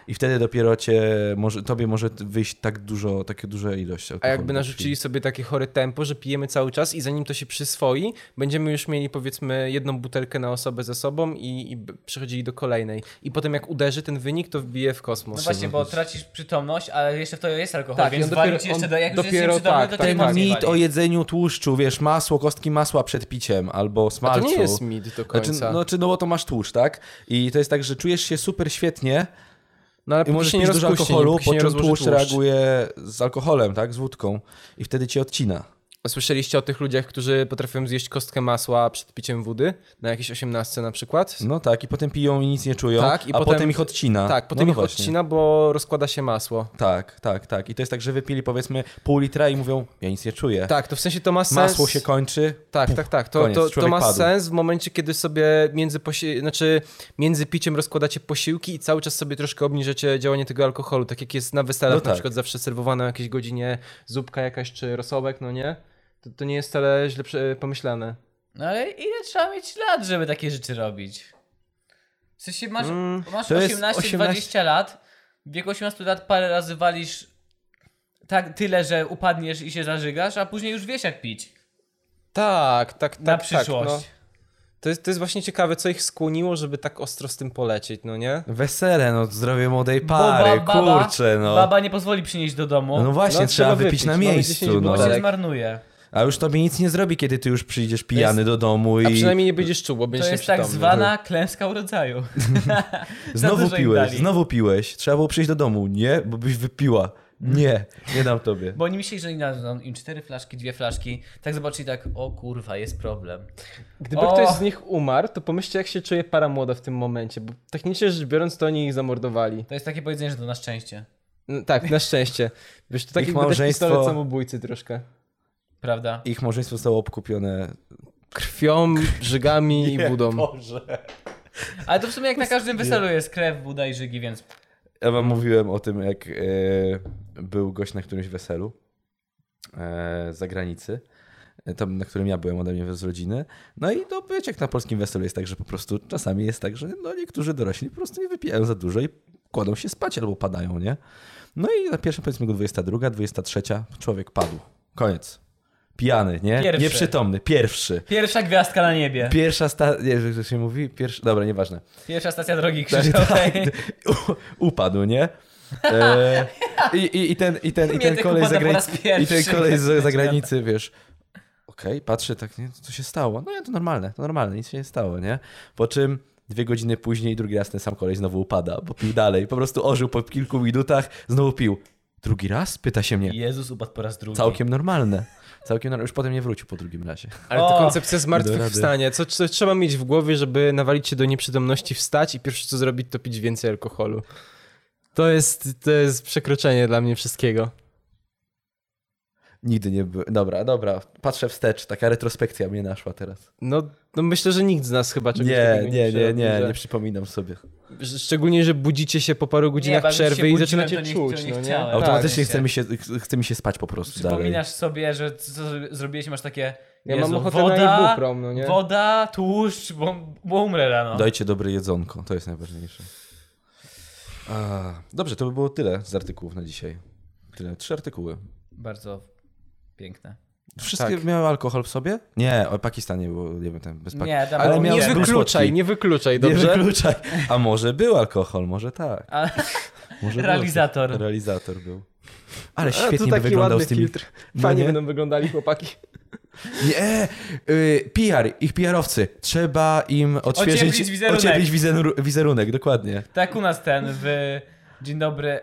i wtedy dopiero cię, może, tobie może wyjść tak dużo, takie duża ilość A alkoholu. jakby narzucili sobie takie chore tempo, że pijemy cały czas i zanim to się przyswoi, będziemy już mieli powiedzmy jedną butelkę na osobę ze sobą i, i b- przechodzili do kolejnej. I potem jak uderzy ten wynik, to wbije w No kosmos. właśnie, bo tracisz przytomność, ale jeszcze w to jest alkohol, Tak, tak, i on więc dopiero- wali ci jeszcze, on do, jak już jest dopiero- nieprzytomny, tak, to tak, cię Ten tak. mocniej mit wali. o jedzeniu tłuszczu, wiesz, masło, kostki masła przed piciem albo A to smalcu. nie jest mit do końca. Znaczy, no, czy, no bo to masz tłuszcz, tak? I to jest tak, że czujesz się super świetnie no ale i póki możesz się nie pić dużo rozpuści, alkoholu, póki się po nie czym rozłoży tłuszcz reaguje z alkoholem, tak? Z wódką. I wtedy cię odcina. Słyszeliście o tych ludziach, którzy potrafią zjeść kostkę masła przed piciem wody? Na jakieś 18 na przykład? No tak, i potem piją i nic nie czują, Tak, i a potem, potem- ich odcina. Tak, no, potem no ich właśnie. odcina, bo rozkłada się masło. Tak, tak, tak. I to jest tak, że wypili powiedzmy pół litra i mówią, ja nic nie czuję. Tak, to w sensie to ma sens. Masło się kończy. Tak, tak, tak. To, koniec, to, to człowiek ma padł. sens w momencie, kiedy sobie między, posi- znaczy między piciem rozkładacie posiłki i cały czas sobie troszkę obniżacie działanie tego alkoholu. Tak jak jest na westelach, No na tak. przykład zawsze serwowana o jakiejś godzinie zupka jakaś czy rosołek, no nie? To, to nie jest wcale źle prze- pomyślane. No ale ile trzeba mieć lat, żeby takie rzeczy robić? W sensie masz, Mm, masz to jest 18-20 lat, w wieku 18 lat parę razy walisz tak tyle, że upadniesz i się zażygasz, a później już wiesz jak pić Tak, tak, tak. na tak, przyszłość. no. to, jest, to jest właśnie ciekawe, co ich skłoniło, żeby tak ostro z tym polecieć, no nie? Wesele, no zdrowie młodej Bo pary, ba- baba- kurczę, no. Baba nie pozwoli przynieść do domu, No właśnie, No, trzeba trzeba wypić, wypić, na mamy miejscu, 10 no. bo się butelek. zmarnuje. A już tobie nic nie zrobi, kiedy ty już przyjdziesz pijany do domu i A przynajmniej nie będziesz czuł, bo To będziesz jest tak nieprzytomny. zwana klęska urodzaju. za znowu dużo im piłeś, dali. znowu piłeś. Trzeba było przyjść do domu, nie? Bo byś wypiła. Nie, nie dam tobie. Bo oni myśleli, że nie dadzą im cztery flaszki, dwie flaszki. Tak zobaczyli tak, o kurwa, jest problem. Gdyby O! ktoś z nich umarł, to pomyślcie, jak się czuje para młoda w tym momencie, bo technicznie rzecz biorąc, to oni ich zamordowali. To jest takie powiedzenie, że to na szczęście. No, tak, na szczęście. Wiesz, to tak Ich jakby też małżeństwo- pistolet samobójcy troszkę. Prawda? Ich małżeństwo zostało obkupione. Krwią, żygami i budą. Ale to w sumie jak na każdym weselu jest krew, buda i żygi, więc Ja wam mówiłem o tym, jak e, był gość na którymś weselu e, z zagranicy. e, Tam, na którym ja byłem ode mnie z rodziny. No i to wiecie, jak na polskim weselu jest tak, że po prostu czasami jest tak, że no niektórzy dorośli po prostu nie wypijają za dużo i kładą się spać albo padają, nie? No i na pierwszym powiedzmy go 22, 23, człowiek padł. Koniec. Pijany, nie? Pierwszy. Nieprzytomny, pierwszy. pierwsza gwiazdka na niebie. Pierwsza sta... Nie, że to się mówi? Pierwsza... Dobra, nieważne. Pierwsza stacja drogi Tak, krzyżowej. U, upadł, nie? E, i, i, I ten, i ten, i ten Mietek kolej z upada po raz zagranicy, i ten pierwszy. (laughs) kolej z zagranicy, wiesz, okej, patrzę tak, nie, co się stało? No nie, to normalne, to normalne, nic się nie stało, nie? Po czym dwie godziny później drugi raz ten sam kolej znowu upada, bo pił dalej, po prostu ożył po kilku minutach, znowu pił. Drugi raz? Pyta się mnie. Jezus upadł po raz drugi. Całkiem normalne. Całkiem normalne. Już potem nie wrócił po drugim razie. Ale to O! koncepcja rady. zmartwychwstania. Co, co trzeba mieć w głowie, żeby nawalić się do nieprzytomności, wstać i pierwsze co zrobić, to pić więcej alkoholu. To jest, to jest przekroczenie dla mnie wszystkiego. Nigdy nie był. Dobra, dobra. Patrzę wstecz. Taka retrospekcja mnie naszła teraz. No, no myślę, że nikt z nas chyba czegoś Nie, takiego nie nie, nie, przerobi, nie, że- nie przypominam sobie. Szczególnie, że budzicie się po paru godzinach bo jak już się przerwy i budziłem, zaczynacie to nie- czuć, to nie no nie? chciałem. Automatycznie Tak. chce, mi się, chce mi się spać po prostu Przypominasz dalej. sobie, że co zro- zrobiłeś, masz takie. Ja Jezu, mam ochotę na woda, Ibuprom, no nie? Woda, tłuszcz, bo, bo umrę rano. Dajcie dobre jedzonko, to jest najważniejsze. A, dobrze, to by było tyle z artykułów na dzisiaj. Tyle, trzy artykuły. Bardzo piękne. Wszystkie Tak. miały alkohol w sobie? Nie, o Pakistanie było, nie wiem, tam bez Pakistanu. Nie, tam Tak. Ale było miał Nie miałeś jeden. był wykluczaj, słodki. nie wykluczaj, Nie dobrze? wykluczaj. A może był alkohol, może tak. A, Może był. Realizator. Realizator był. Ale A, tu świetnie by taki wyglądał ładny z tymi... filtr. No Fajnie nie? będą wyglądali chłopaki. Nie, y, PR, ich PR-owcy. Trzeba im odświeżyć, Ocieplić wizerunek. ocieplić wizeru- wizerunek, dokładnie. tak u nas ten w. Dzień dobry.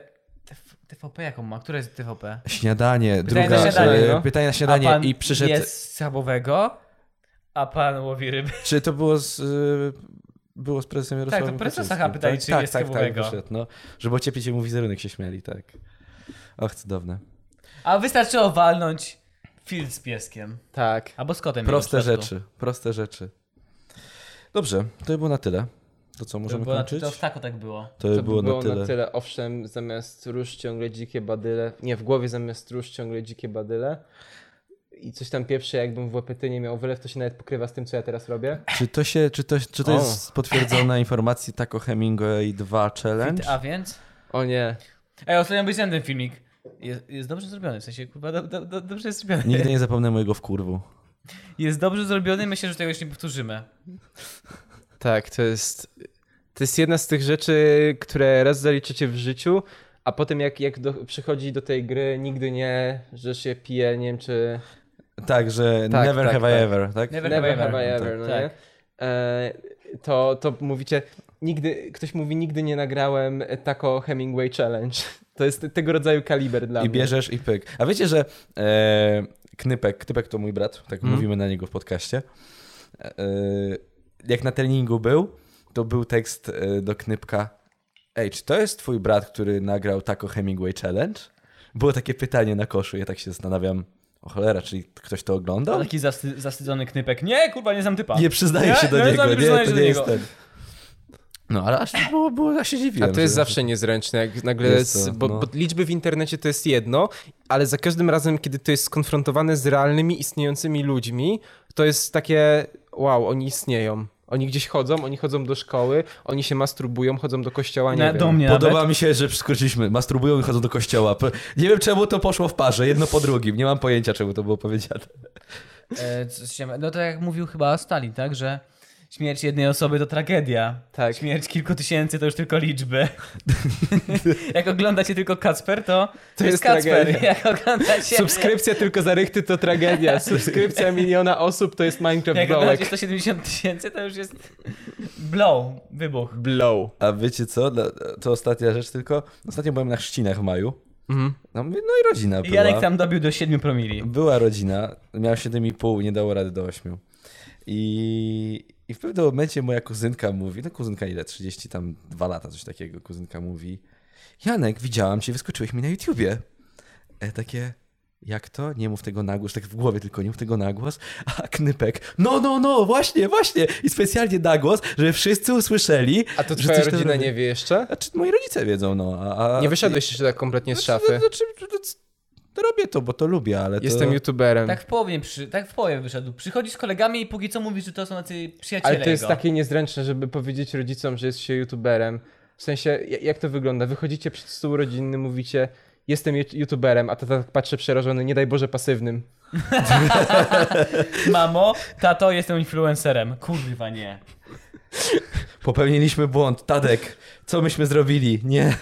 TV- TVP jaką ma? Która jest TVP? Śniadanie, Pytanie druga, na na śniadanie, śniadanie, no. pytanie na A śniadanie pan i przyszedł, jest schabowego, a pan łowi ryby. czy to było z, y, było z prezesem Jarosławem Tak, to prezesa Kaczyńskim, Hacha pytali, czy tak, jest tak, tak, chybowego. wyszedł, no, żeby ocieplić mu wizerunek, się śmiali, tak. Och, cudowne. A wystarczyło walnąć film z pieskiem. Tak. Albo z kotem. Proste mimo wszystko. rzeczy, proste rzeczy. Dobrze, to by było na tyle. To co, To, możemy było na, kończyć? to w tako tak było. To by było na tyle. Owszem, zamiast róż ciągle dzikie badyle. Nie, w głowie zamiast róż ciągle dzikie badyle. I coś tam pierwsze, jakbym w łepetynie miał wylew, to się nawet pokrywa z tym, co ja teraz robię. Czy to, się, czy to, czy to O. tak jest potwierdzona informacja Taco Hemingway 2 Challenge? A więc? O nie. Ej, ostatnio obejrzałem ten filmik. Jest, jest dobrze zrobiony, w sensie, kurwa, do, do, do, dobrze jest zrobiony. Nigdy nie zapomnę mojego wkurwu. Jest dobrze zrobiony, myślę, że tego już nie powtórzymy. Tak, to jest. To jest jedna z tych rzeczy, które raz zaliczycie w życiu, a potem jak, jak do, przychodzi do tej gry, nigdy nie, że się pije, nie wiem czy. Tak, że Tak, never tak, have tak. I ever, tak? Never- Never have I ever. ever, no Tak. nie? E, to, to mówicie, nigdy, ktoś mówi, nigdy nie nagrałem tako Hemingway Challenge. (laughs) To jest tego rodzaju kaliber dla I mnie. bierzesz i pyk. A wiecie, że e, Knypek, Knypek to mój brat, tak Mhm. mówimy na niego w podcaście. E, jak na treningu był, to był tekst e, do Knypka. Ej, czy to jest twój brat, który nagrał Taco Hemingway Challenge? Było takie pytanie na koszu, ja tak się zastanawiam. O cholera, czyli ktoś to oglądał? Taki zawsty, zawstydzony knypek. Nie, kurwa, nie znam typa. No. Nie przyznaje się do no, niego, Nie, nie, przyznaję się to nie do niego. jest ten. No, ale aż to było, było ja się dziwiłem. A to jest że- zawsze niezręczne, jak nagle, Jest z- to, bo, no. bo liczby w internecie to jest jedno, ale za każdym razem, kiedy to jest skonfrontowane z realnymi, istniejącymi ludźmi, to jest takie, wow, oni istnieją. Oni gdzieś chodzą, oni chodzą do szkoły, oni się masturbują, chodzą do kościoła, nie Na, wiem. do mnie Podoba nawet. mi się, że skróciliśmy. Masturbują i chodzą do kościoła. P- Nie wiem, czemu to poszło w parze, jedno po drugim. Nie mam pojęcia, czemu to było powiedziane. E, co się- No to jak mówił chyba Stalin, tak, że śmierć jednej osoby to tragedia. Tak. Śmierć kilku tysięcy to już tylko liczby. (laughs) jak oglądacie tylko Kacper, to, to jest jest Kacper. tragedia. Jak oglądacie, Subskrypcja tylko za rychty to tragedia. Subskrypcja miliona osób to jest Minecraft jak oglądacie dołek. 170 tysięcy, to już jest blow, wybuch. Blow. A wiecie co? Dla- To ostatnia rzecz tylko. Ostatnio byłem na chrzcinach w maju. No, mówię, no i rodzina Mhm. I była. Janek tam dobił do 7 promili. Była rodzina. Miał 7,5, nie dało rady do 8. I, I w pewnym momencie moja kuzynka mówi, no kuzynka ile? 30 tam dwa lata, coś takiego. Kuzynka mówi, Janek, widziałam cię, wyskoczyłeś mi na YouTubie. E, takie, jak to? Nie mów tego na głos, tak w głowie tylko, nie mów tego na głos. A Knypek, no, no, no, właśnie, właśnie. I specjalnie na głos, żeby wszyscy usłyszeli. A to że twoja coś tam rodzina robię. nie wie jeszcze? Znaczy, moi rodzice wiedzą, no. A, a... Nie wyszedłeś jeszcze tak kompletnie No, z Znaczy, szafy. Znaczy, znaczy, robię to, bo to lubię, ale Jestem to... youtuberem. Tak w połowie, przy, tak w połowie wyszedł. Przychodzi z kolegami i póki co mówi, że to są tacy przyjaciele Ale to jest jego. takie niezręczne, żeby powiedzieć rodzicom, że jest się youtuberem. W sensie, ja- jak to wygląda? Wychodzicie przed stół rodzinny, mówicie, jestem ju- youtuberem, a tata tak patrzy przerażony, nie daj Boże pasywnym. Mamo, tato, jestem influencerem. Kurwa nie. Popełniliśmy błąd, Tadek. Co myśmy zrobili? Nie.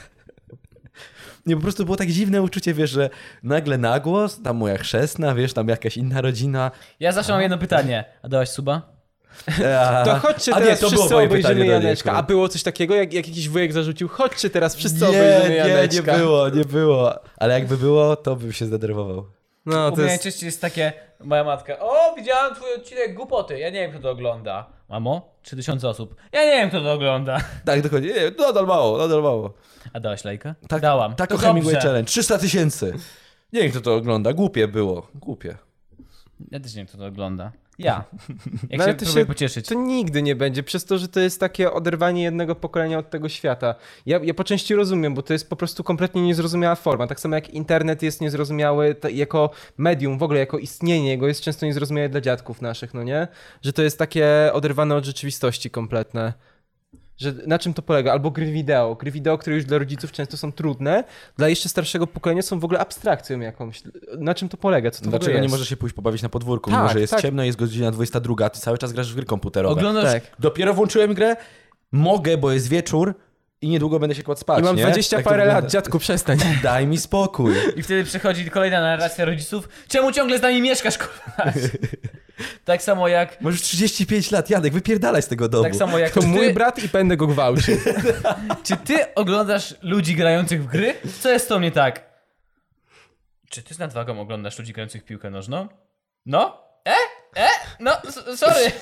Nie, po prostu było tak dziwne uczucie, wiesz, że nagle nagłos, tam moja chrzestna, wiesz, tam jakaś inna rodzina. Ja zawsze mam jedno pytanie. A dałaś suba? Eee, (laughs) To chodźcie a nie, teraz to było wszyscy moje obejrzymy pytanie do niej, Janeczka. A akurat. było coś takiego, jak, jak jakiś wujek zarzucił, chodźcie teraz wszyscy nie, obejrzymy nie, Janeczka. nie było, nie było. Ale jakby było, to bym się zdenerwował. No, U to mnie jest... najczęściej jest takie, moja matka, o, widziałem twój odcinek głupoty, ja nie wiem, kto to ogląda. Mamo, 3000 osób. Ja nie wiem, kto to ogląda. (laughs) Tak, dokładnie. Nie, nadal mało, nadal mało. A dałaś lajka? Tak, Dałam. Tak To o Hemingway dobrze. Challenge. 300 tysięcy. Nie wiem, kto to ogląda. Głupie było. Głupie. Ja też nie wiem, kto to ogląda. (laughs) Ja. Jak No, ale się próbuję pocieszyć. To nigdy nie będzie, przez to, że to jest takie oderwanie jednego pokolenia od tego świata. Ja, ja po części rozumiem, bo to jest po prostu kompletnie niezrozumiała forma. Tak samo jak internet jest niezrozumiały ta- jako medium, w ogóle jako istnienie jego jest często niezrozumiałe dla dziadków naszych, no nie? Że to jest takie oderwane od rzeczywistości kompletne. Że na czym to polega? Albo gry wideo. Gry wideo, które już dla rodziców często są trudne, dla jeszcze starszego pokolenia są w ogóle abstrakcją jakąś. Na czym to polega? Co to w Dlaczego ogóle nie jest? możesz się pójść pobawić na podwórku? Tak, mimo, że jest tak. ciemno, jest godzina 22, ty cały czas grasz w gry komputerowe. Oglądasz... tak. Dopiero włączyłem grę, mogę, bo jest wieczór i niedługo będę się kładł spać, I mam nie? 20 Tak to parę lat, wygląda. dziadku, przestań. Daj mi spokój. I wtedy przychodzi kolejna narracja rodziców. Czemu ciągle z nami mieszkasz, kurwa? (laughs) tak samo jak... Masz już 35 lat, Janek, wypierdalaj z tego domu. Tak samo jak To ty, mój brat i będę go gwałcił. Czy ty oglądasz ludzi grających w gry? Co jest to mnie tak? Czy ty z nadwagą oglądasz ludzi grających w piłkę nożną? No? E? E? No, s- sorry.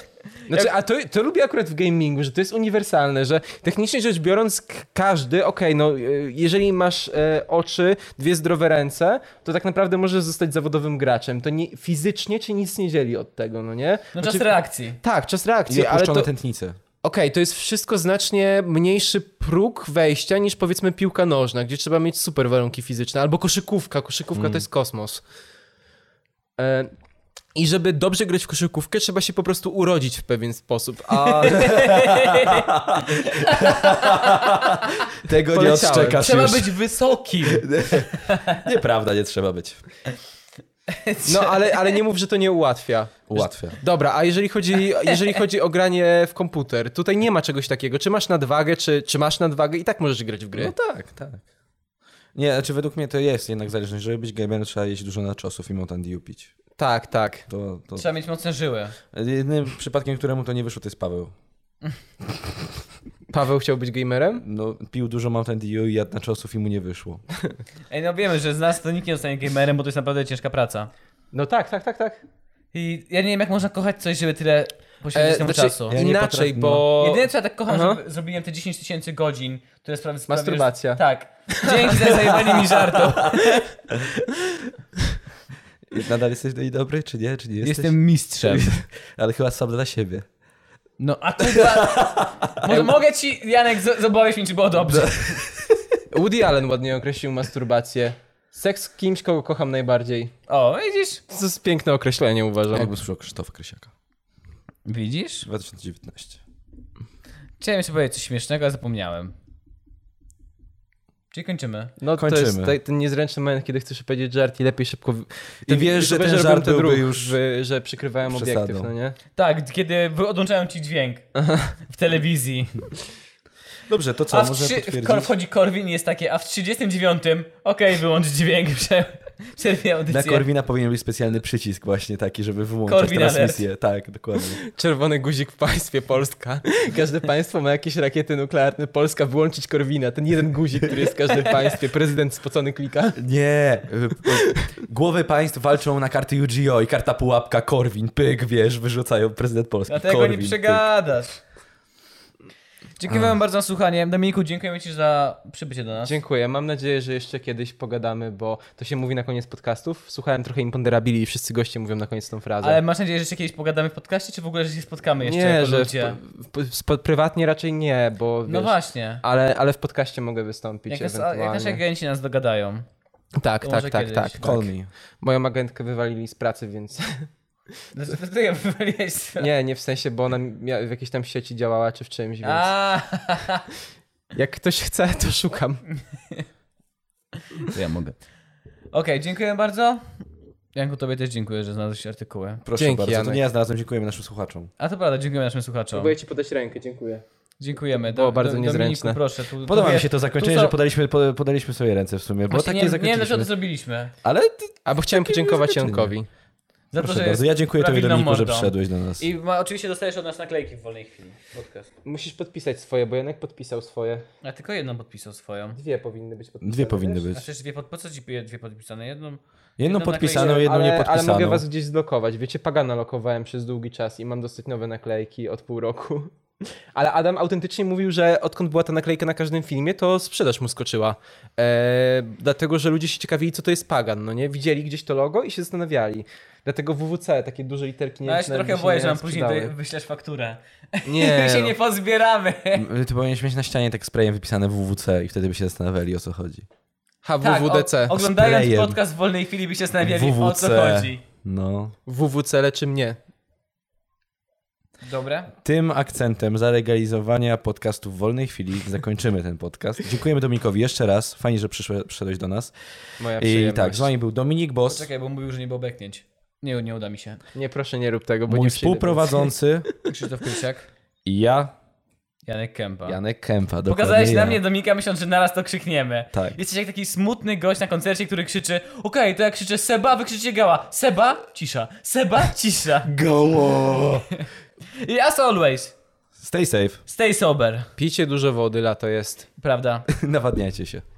Znaczy, a to, to lubię akurat w gamingu, że to jest uniwersalne, że technicznie rzecz biorąc k- każdy, okej, no y, jeżeli masz e, oczy, dwie zdrowe ręce, to tak naprawdę możesz zostać zawodowym graczem. To nie, fizycznie cię nic nie dzieli od tego, no nie? No czas Znaczy- reakcji. Tak, czas I reakcji, ale to, opuszczone okej, tętnice. to jest wszystko znacznie mniejszy próg wejścia niż powiedzmy piłka nożna, gdzie trzeba mieć Mm. super warunki fizyczne, albo koszykówka, koszykówka to jest kosmos. E, I żeby dobrze grać w koszykówkę, trzeba się po prostu urodzić w pewien sposób. A Tego nie Poleciałem. odszczekasz Trzeba już. być wysokim. Nieprawda, nie trzeba być. No, ale, ale nie mów, że to nie ułatwia. Ułatwia. Dobra, a jeżeli chodzi, jeżeli chodzi o granie w komputer, tutaj nie ma czegoś takiego. Czy masz nadwagę, czy, czy masz nadwagę i tak możesz grać w gry. No tak, tak. Nie, znaczy według mnie to jest jednak zależność. Żeby być gamerem, trzeba jeść dużo naczosów i Mountain Dew pić. tak, tak. To, to... Trzeba mieć mocne żyły. Jedynym przypadkiem, któremu to nie wyszło, to jest Paweł. Paweł chciał być gamerem? No, pił dużo Mountain Dew i jadł naczosów i mu nie wyszło. Ej, no wiemy, że z nas to nikt nie zostanie gamerem, bo to jest naprawdę ciężka praca. No tak, tak, tak, tak. I ja nie wiem, jak można kochać coś, żeby tyle poświęcić temu czasu. Ja nie znaczy inaczej, potrafię, bo... Jedyne co ja tak kocham, E, Aha. że zrobiłem te 10 tysięcy godzin, które sprawi sprawiły, że- Masturbacja. Tak. Dzięki za zajebanie mi żartu. Nadal jesteś do niej dobry, czy nie? Czy nie jesteś? Jestem mistrzem. Ale chyba sam dla siebie. No a kurwa... (laughs) Może mogę ci, Janek, z- zobaczyć mi, czy było dobrze. Woody Allen ładnie określił masturbację. Seks z kimś, kogo kocham najbardziej. O, widzisz? To jest piękne określenie, uważam. Jakby słyszał Krzysztofa Krysiaka. Widzisz? 2019. Chciałem jeszcze powiedzieć coś śmiesznego, a zapomniałem. Czyli kończymy. No to Kończymy. jest taj- ten niezręczny moment, kiedy chcesz powiedzieć żart i lepiej szybko... w- I wiesz, że ten żart byłby robiłem ruch, już... Że, że przykrywałem przesadą. obiektyw, no nie? Tak, kiedy wy- odłączałem ci dźwięk w telewizji. Dobrze, to (laughs) co, A w, może trzy, w kor, potwierdzić? wchodzi Korwin i jest takie, a w 39 okej, wyłącz dźwięk, (laughs) prze- przerwie Dla audycję. Korwina powinien być specjalny przycisk właśnie taki, żeby wyłączać Korwin alert. transmisję. Tak, dokładnie. Czerwony guzik w państwie Polska. (laughs) Każde państwo ma jakieś rakiety nuklearne. Polska wyłączyć Korwina. Ten jeden guzik, który jest w (laughs) każdym państwie. Prezydent spocony klika. Nie! y, y, Głowy państw walczą na karty UGO i karta pułapka Korwin, pyk, wiesz, wyrzucają prezydent Polski. Dlatego Korwin, tak. nie pyk. przegadasz. Dziękuję wam bardzo za słuchanie. Dominiku, dziękujemy ci za przybycie do nas. Dziękuję. Mam nadzieję, że jeszcze kiedyś pogadamy, bo to się mówi na koniec podcastów. Słuchałem trochę Imponderabili i wszyscy goście mówią na koniec tą frazę. Ale masz nadzieję, że jeszcze kiedyś pogadamy w podcaście, czy w ogóle, że się spotkamy jeszcze nie, jako że w, ludzie? w, w, prywatnie raczej nie, bo wiesz, No właśnie. Ale, ale w podcaście mogę wystąpić Jak, nas, a- jak ewentualnie. nasze agenci nas dogadają. tak, to tak, może tak, kiedyś. tak, Call tak. me. Moją agentkę wywalili z (laughs) pracy, więc... Znaczy, to ja wywaliłeś. nie, nie w sensie, bo ona mia- w jakiejś tam sieci działała czy w czymś, więc... A, (laughs) Jak ktoś chce, to szukam. To ja mogę. Okej, dziękuję bardzo. Janku, tobie też dziękuję, że znalazłeś artykuły. Proszę Dzięki, bardzo, to Janek. nie ja znalazłem, dziękujemy naszym słuchaczom. A to prawda, dziękujemy naszym słuchaczom. ci podać rękę, dziękuję. Dziękujemy. było bardzo Dominiku, niezręczne. proszę. Tu, Podoba tu mi wiesz, się to zakończenie, tu są- że podaliśmy, po- podaliśmy sobie ręce w sumie, bo Właśnie tak nie, nie nie wiem, dlaczego to zakończyliśmy. zrobiliśmy. Ale ty, Albo chciałem podziękować zakończenie. Jankowi. Za to, że proszę bardzo, jest ja dziękuję tobie prawilną Dominiku, że mordą. przyszedłeś do nas. I ma, oczywiście dostajesz od nas naklejki w wolnej chwili. Podcast. Musisz podpisać swoje, bo Janek podpisał swoje. Ja tylko jedną podpisał swoją. Dwie powinny być podpisane. Dwie powinny wiesz? A być. przecież dwie, pod, po co ci pije- dwie podpisane? Jedną... Jedną Jedną podpisaną, naklejkę, jedną ale, ale niepodpisaną. mogę was gdzieś zblokować. Wiecie, Pagana lokowałem przez długi czas i mam dostać nowe naklejki od pół roku. (laughs) Ale Adam autentycznie mówił, że odkąd była ta naklejka na każdym filmie, to sprzedaż mu skoczyła. Eee, dlatego, że ludzie się ciekawili, co to jest Pagan, no nie? Widzieli gdzieś to logo i się zastanawiali. Dlatego WWC, takie duże literki nie No ja wiem, się czy nawet trochę mi boję, nie że nam później sprzedały. tutaj wyślesz fakturę. Nie, (laughs) My się no. nie pozbieramy. M, Ty powinieneś mieć na ścianie tak sprayem wypisane WWC i wtedy by się zastanawiali o co chodzi. HWWDC. Tak, o, oglądając Sprayem. podcast w wolnej chwili by się zastanawiali o co WWC. chodzi. No. WWC leczy mnie. Dobre? Tym akcentem zalegalizowania podcastów w wolnej chwili zakończymy ten podcast. Dziękujemy Dominikowi jeszcze raz. Fajnie, że przyszłe, przyszedłeś do nas. Moja I przyjemność. tak, z wami był Dominik Boss, Czekaj, bo mówił, że nie było beknięć. Nie, nie uda mi się. Nie, proszę nie rób tego, bo mój nie przyjdę współprowadzący Krzysztof Krysiak, i ja, Janek Kępa. Janek Kępa. dokładnie Pokazałeś ja. na mnie Dominika myśląc, że naraz to krzykniemy. Tak. Jesteś jak taki smutny gość na koncercie, który krzyczy Okej, to jak krzyczę Seba, wy krzyczycie Gała. Seba, cisza. Seba, cisza. Goło! I (laughs) as always, Stay safe, (laughs) stay sober. Pijcie dużo wody, lato jest. Prawda. nawadniajcie się.